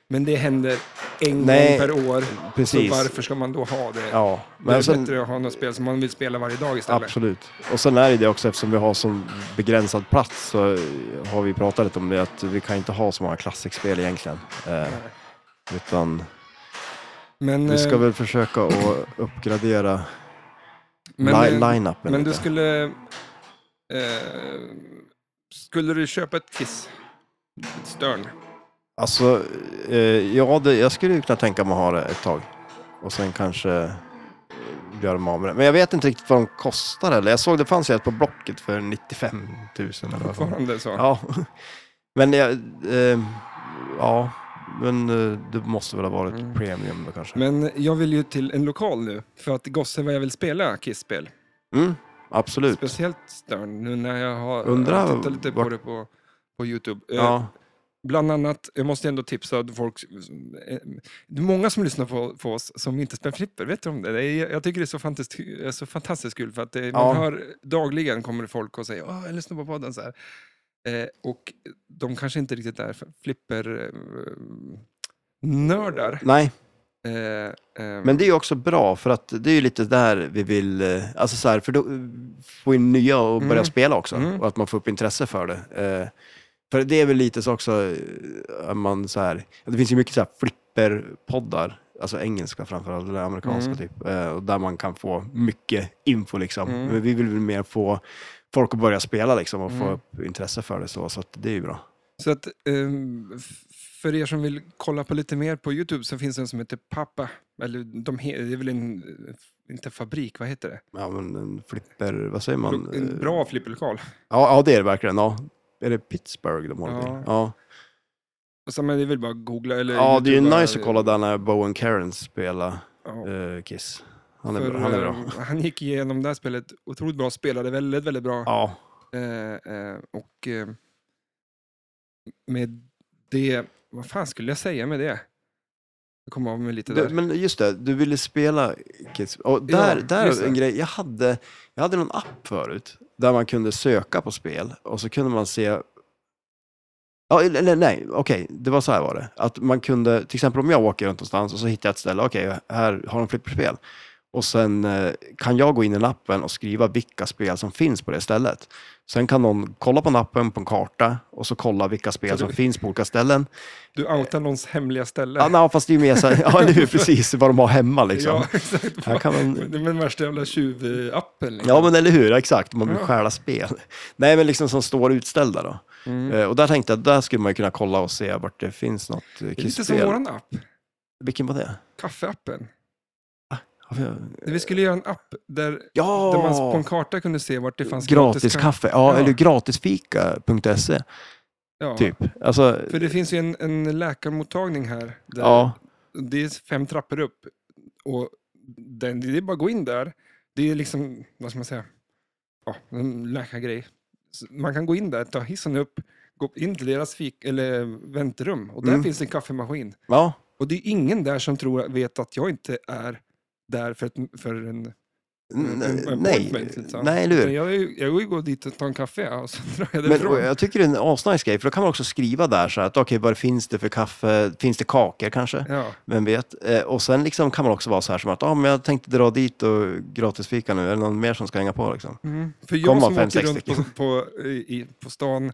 Men det händer en
Nej,
gång per år,
precis.
så varför ska man då ha det?
ja.
det är
Men alltså- sen,
bättre att ha något spel som man vill spela varje dag istället.
absolut. Och sen är det det också eftersom vi har så begränsad plats så har vi pratat lite om det att vi kan inte ha så många klassikspel egentligen. Eh, utan
Men,
vi ska
eh,
väl försöka att uppgradera
men,
li-
eh,
line-upen
men du
lite.
skulle... Eh, skulle du köpa ett Kiss? Ett Stern?
Alltså, eh, ja, det, jag skulle ju kunna tänka mig att ha det ett tag. Och sen kanske eh, göra mig av med det. Men jag vet inte riktigt vad de kostar heller. Jag såg det fanns ju ett på Blocket för 95 000 eller vad fan.
Fortfarande så?
Ja, men jag, eh, ja, men eh, det måste väl ha varit
Mm.
premium då kanske.
Men jag vill ju till en lokal nu, för att gosse vad jag vill spela Kiss-spel.
Mm, absolut.
Speciellt Stern, nu när jag har
Undrar
jag tittat lite på
vart-
det på, på YouTube. Eh,
Ja, bland
Annat, jag måste ändå tipsa folk, eh, det är många som lyssnar på, på oss som inte spelar flipper, vet du om det? det är, jag tycker det är så, fantastiskt, eh, så fantastiskt kul, för att det, man
Ja.
hör dagligen kommer det folk och säger Åh, jag lyssnar på podden så här. Eh, och de kanske inte riktigt är eh, flipper-nördar.
Nej,
Eh, ehm,
men det är ju också bra för att det är ju lite där vi vill, eh, alltså så här, för då eh, får in nya och börja
Mm.
spela också
Mm.
och att man får upp intresse för det. Eh, För det är väl lite så också, eh, att man så här, det finns ju mycket så här flipperpoddar, alltså engelska framförallt, eller amerikanska
Mm.
typ, eh, och där man kan få mycket info liksom.
Mm.
Men vi vill väl mer få folk att börja spela liksom och få
Mm.
upp intresse för det så, så att det är ju bra.
Så att ehm, f- för er som vill kolla på lite mer på Youtube så finns det en som heter Pappa. Eller de he- det är väl en, eh, inte fabrik, vad heter det?
Ja men en flipper, vad säger man? eh,
Lo- en bra flipperlokal.
Ja, ja det är det verkligen. Ja. Är det Pittsburgh de håller
Ja.
till? Ja,
Och så, Alltså, men det är väl bara att googla eller
ja det är ju
YouTubea.
nice att kolla där när Bowen Karen spelar
Ja,
eh, Kiss. Han är,
för,
bra. Han är bra.
ehm, han gick igenom det här spelet otroligt bra, spelade väldigt, väldigt bra.
Ja,
Eh, eh, och eh, med det, vad fan skulle jag säga med det? Jag kom av mig lite
Du,
där.
men just det, du ville spela Kids. Och där,
Ja,
där
just
är en
det.
grej. Jag hade, jag hade någon app förut där man kunde söka på spel och så kunde man se... Ja, eller eller nej, okej, det var så här var det. Att man kunde, till exempel om jag åker runt någonstans och så hittar jag ett ställe, okej, här har de flipperspel. Och sen eh, kan jag gå in i appen och skriva vilka spel som finns på det stället. Sen kan någon kolla på appen på en karta och så kolla vilka
Så
spel
du-
som finns på olika ställen.
Du outar någons hemliga ställe.
Ja, nej, fast det är ju mer så här, [LAUGHS] ja, eller hur, precis, vad de har hemma liksom.
[LAUGHS] Ja, exakt.
Här kan man...
Det är den värsta jävla tjuvappen. Liksom.
Ja, men eller hur, exakt. Man vill
Ja.
stjäla spel. Nej, men liksom som står utställda då.
Mm.
Eh, Och där tänkte jag, där skulle man ju kunna kolla och se vart det finns något eh,
Det är lite som
Kiss-spel.
våran app,
Vilken var det?
kaffeappen.
Varför jag-
Vi skulle göra en app där, där man på en
Ja!
karta kunde se vart det fanns
Gratis kaffe. Ja,
Ja.
eller gratisfika.se
Ja,
typ. Alltså,
För det finns ju en, en läkarmottagning här. Där
ja.
Det är fem trappor upp. Och den, det är bara att gå in där. Det är liksom, vad ska man säga, ja, en läkargrej. Så Man kan gå in där, ta hissen upp, gå in till deras fik, eller väntrum och där
Mm.
finns det en kaffemaskin.
ja.
Och det är ingen där som tror, vet att jag inte är där för, ett, för en...
N-
en- en
Nej,
appointment, liksom.
nej eller hur?
Men Jag, är ju- jag går ju gå dit och ta en kaffe ja, och så [LAUGHS] drar jag
Men
därifrån.
och eh, jag tycker det är en asnice grej, för då kan man också skriva där så här att okej, vad finns det för kaffe? Finns det kakor kanske?
Ja,
Vem vet? Eh, och sen liksom kan man också vara så här som att ah, men jag tänkte dra dit och gratisfika nu, är det någon mer som ska hänga på liksom?
mm. För jag
Komma
som
fem,
åker
sex
runt på, på, i, på stan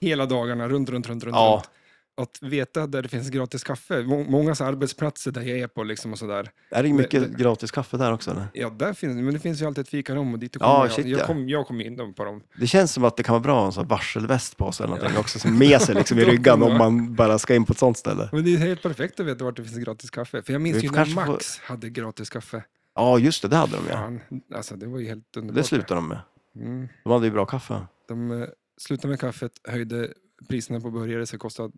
hela dagarna, runt, runt, runt, runt.
Ja.
runt. Att veta där det finns gratis kaffe. Må- Många så här arbetsplatser där jag är på liksom och sådär.
Är det mycket
Men- men-
gratis kaffe där också? Eller?
Ja, där finns, men det finns ju alltid ett fikarum och dit kommer
Ja,
jag.
shit,
jag,
ja.
kom, jag kom in dem på dem.
Det känns som att det kan vara bra att ha en sån här varselväst på sig eller någonting också, som med sig liksom [LAUGHS] i
Då-
ryggan om man bara ska in på ett sånt ställe.
Men det är helt perfekt att veta vart det finns gratis kaffe. För jag
Vi
minns ju
får
när
kanske få-
Max hade gratis kaffe.
Ja, just det, det hade de ja.
Fan, alltså det var ju helt underbart.
Det slutade de med.
Mm.
De hade ju bra kaffe.
De eh, slutade med kaffet, höjde priserna på burgare så det kostade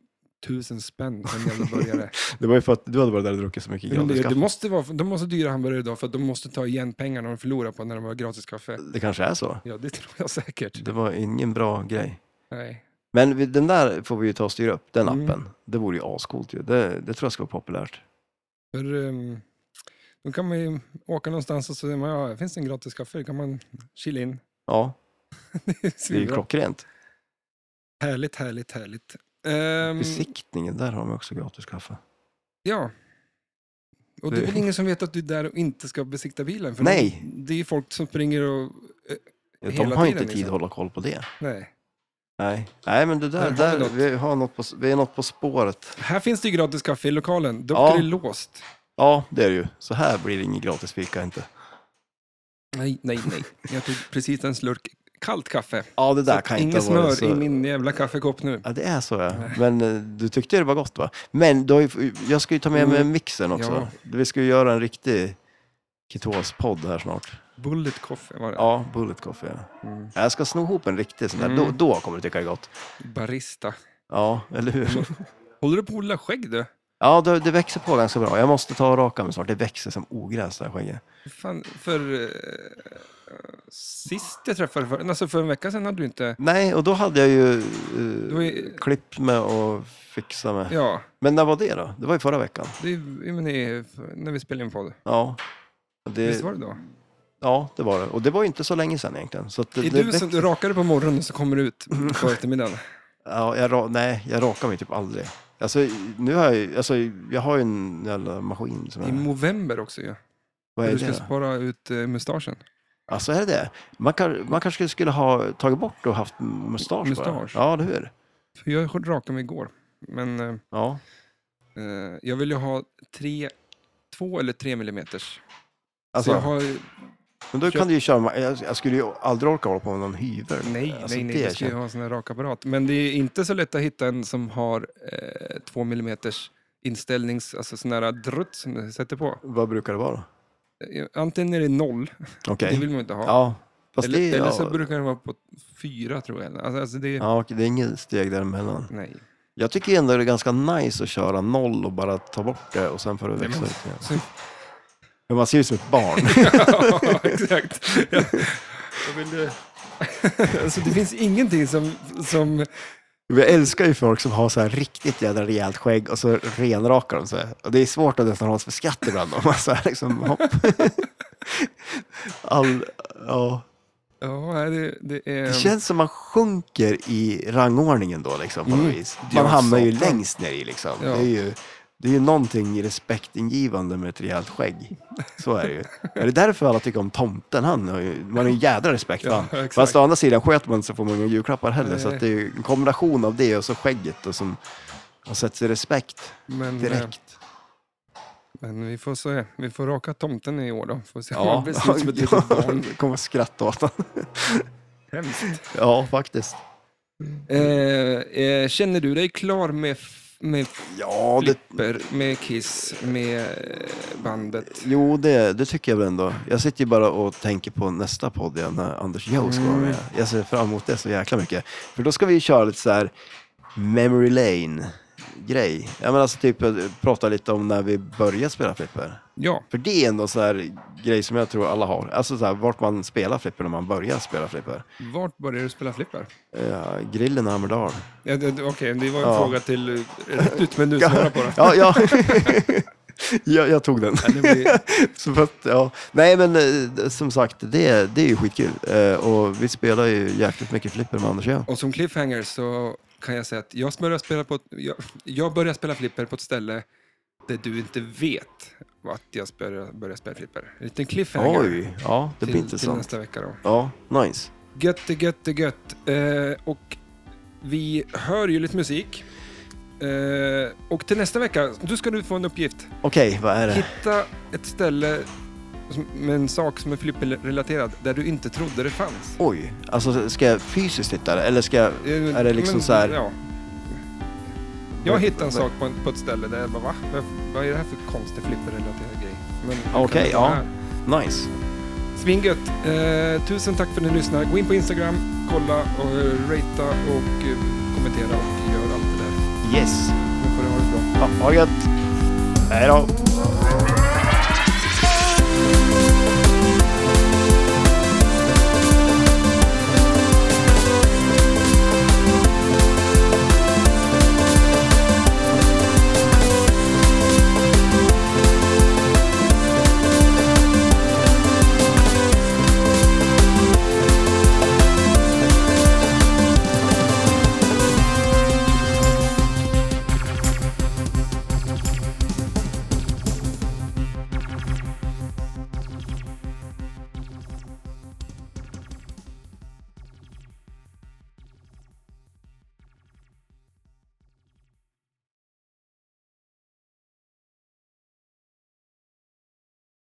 tusen spänn för en jävla
[LAUGHS]
burgare.
Det var ju för att du hade varit där och druckit så mycket
Men
gratis
det, det
kaffe.
måste vara, de måste dyra hamburgare idag för att de måste ta igen pengarna de förlorar på när de har gratis kaffe.
Det kanske är så.
Ja, det tror jag säkert.
Det var ingen bra grej.
Nej.
Men vi- den där får vi ju ta och styra upp, den
Mm.
appen. Det vore ju ascoolt ju. Det, det tror jag ska vara populärt.
För, ehm, då kan man ju åka någonstans och så säger man, ja, här finns det en gratis kaffe? Då kan man chilla in. [LAUGHS]
Ja,
det är
det är ju
svinbra.
klockrent.
Härligt, härligt, härligt. Ehm,
Besiktningen, där har de också gratis kaffe.
ja. Och det är väl ingen som vet att du är där och inte ska besikta bilen? För
Nej.
De, det är ju folk som springer och... eh,
Ja, De
Hela
har ju
tiden,
inte tid
liksom.
att hålla koll på det.
nej.
Nej, Nej men det där,
Där
där,
har vi något.
vi, har något på, s- vi är något på spåret.
Här finns det ju gratis kaffe i lokalen. Dock
Ja.
är det låst.
Ja, det är det ju. Så här blir det ingen gratis fika inte.
Nej, nej, nej. Jag tog precis en slurk kallt kaffe.
Ja, det där
Så
kan inte
Inget
ha varit
smör i
så...
min jävla kaffekopp nu.
Ja, det är så ja. Men eh, du tyckte det var gott va? Men du har ju, jag ska ju ta med mig
Mm.
mixen också.
Ja.
Vi ska ju göra en riktig ketos-podd här snart.
Bullet coffee var det.
Ja, bullet coffee. Ja.
Mm.
Jag ska sno ihop en riktig sån där,
Mm.
då, då kommer du tycka det är gott.
Barista.
Ja, eller
Mm.
hur?
Håller du på att odla skägg du?
Ja, det, det växer på ganska bra. Jag måste ta och raka mig snart. Det växer som ogräs det här skägget.
Fan, för eh, sist jag träffade för, alltså för en vecka sedan hade du inte...
Nej, och då hade jag ju
Du
eh,
var ju-
klippt mig och fixat mig.
ja,
Men när var det då? Det var ju förra veckan.
det är ju- men det är när vi spelade in podd.
Ja. Och
Visst
Det,
var det då?
ja, det var det. Och det var ju inte så länge sedan egentligen. Så att det,
är
det
du som du rakar dig på morgonen så kommer du ut
[LAUGHS]
på eftermiddagen?
Ja, jag, ra- nej, jag rakar mig typ aldrig. Alltså, nu har jag, ju- alltså, jag har ju en jävla maskin som
I
är...
november också ju.
Vad
För
är
du
det?
ska
då?
spara ut eh, mustaschen.
Alltså är det det? Man, kan, man kanske skulle ha tagit bort och haft mustasch
Mustasch.
bara. Ja, eller hur?
För jag rakade mig igår. Men eh,
Ja.
eh, jag vill ju ha tre, två eller tre millimeters.
Alltså,
så jag har,
men då
köp-
kan du ju köra, jag, jag skulle ju aldrig orka hålla på med någon hyvel.
nej,
alltså,
nej, nej,
det
jag ska ju
känns-
ha en sån här rakapparat. Men det är inte så lätt att hitta en som har eh, två millimeters inställnings, alltså sån här drutt som du sätter på.
Vad brukar det vara?
Eh, Antingen är det noll,
Okej.
det vill man ju inte ha.
Ja, fast
eller,
det, är-
eller
ja,
så brukar det vara på fyra tror jag. Alltså, alltså det är,
ja, okej, det är inget steg däremellan.
nej. [LAUGHS]
Jag tycker ändå det är ganska nice att köra noll och bara ta bort det och sen får det
Nej,
växa
men-
ut igen.
Så,
Men man ser ut som ett
[LAUGHS]
barn.
ja,
[LAUGHS]
exakt. Jag, jag vill, eh, [LAUGHS] alltså det finns ingenting som, som
Jag älskar ju folk som har så här riktigt jädra rejält skägg och så renrakar de sig. Och det är svårt att nästan hålla sig för skratt ibland. Om man så här liksom, hopp. [LAUGHS] All, ja.
Ja, nej, det, det är...
Det känns som man sjunker i rangordningen då liksom, på något
Mm.
vis.
Ja,
Man hamnar ju
satan.
längst ner i liksom.
Ja.
Det är ju det är ju någonting respektingivande med ett rejält skägg. Så är det ju. Är det därför alla tycker om tomten? Han har ju, man har ju jädra respekt för
Ja,
han.
exakt.
Fast å andra sidan sköt man så får man inga julklappar heller. Så
Nej.
att det är ju en kombination av det och så skägget och som har sett sig respekt
men, eh, [LAUGHS]
direkt.
men vi får se. Vi får raka tomten i år då. Får se
[LAUGHS]
om
Ja,
han blir slut som ett litet barn.
jag kommer att skratta åt honom.
Hemskt.
Ja, faktiskt.
Eh, eh, känner du dig klar med med
Ja, det,
flipper, med Kiss, med eh, bandet.
jo det, det tycker jag väl ändå. Jag sitter ju bara och tänker på nästa podd igen, när Anders Joe ska vara
Mm.
med. Jag ser fram emot det så jäkla mycket. För då ska vi ju köra lite så här memory lane-grej. Ja, men alltså typ eh, prata lite om när vi började spela flipper.
Ja,
För det är ändå en sån här grej som jag tror alla har. Alltså så här, vart man spelar flipper när man börjar spela flipper.
vart började du spela flipper?
Ja, grillen i Hammerdal.
Ja, det- det- Okej, det var en
Ja.
fråga till eh, rätt ut, men du svarar på den.
[LAUGHS] Ja, ja. jag, jag tog den.
Ja, det blir-
Så för att, ja. Nej, men eh, som sagt, det, det är ju skitkul. Eh, Och vi spelar ju jäkligt mycket flipper med Anders och jag.
Och som cliffhanger så kan jag säga att jag började spela, på ett, jag, jag började spela flipper på ett ställe där du inte vet att jag började, började spela flipper. En liten cliffhanger
Oj, ja, det blir
till, till
intressant.
nästa vecka då.
Ja, nice.
Gött, det gött, det gött. Eh, och vi hör ju lite musik. Eh, och till nästa vecka, du ska nu få en uppgift.
Okej, vad är det?
Hitta ett ställe som- med en sak som är flipperrelaterad där du inte trodde det fanns.
Oj, alltså ska jag fysiskt hitta det? Eller ska jag...
Eh,
Är det liksom så här-
Ja. Jag hittade en sak på, en, på ett ställe där jag bara va? Vad, vad är det här för konstig flipperrelaterad grej? Men det kan
Okej,
vara
ja.
här.
Nice.
Svingött! Eh, tusen tack för att ni lyssnar. Gå in på Instagram, kolla och eh, ratea och eh, kommentera och gör allt det där.
Yes.
Nu får du ha det bra.
Ja, ha det gött. Hej då.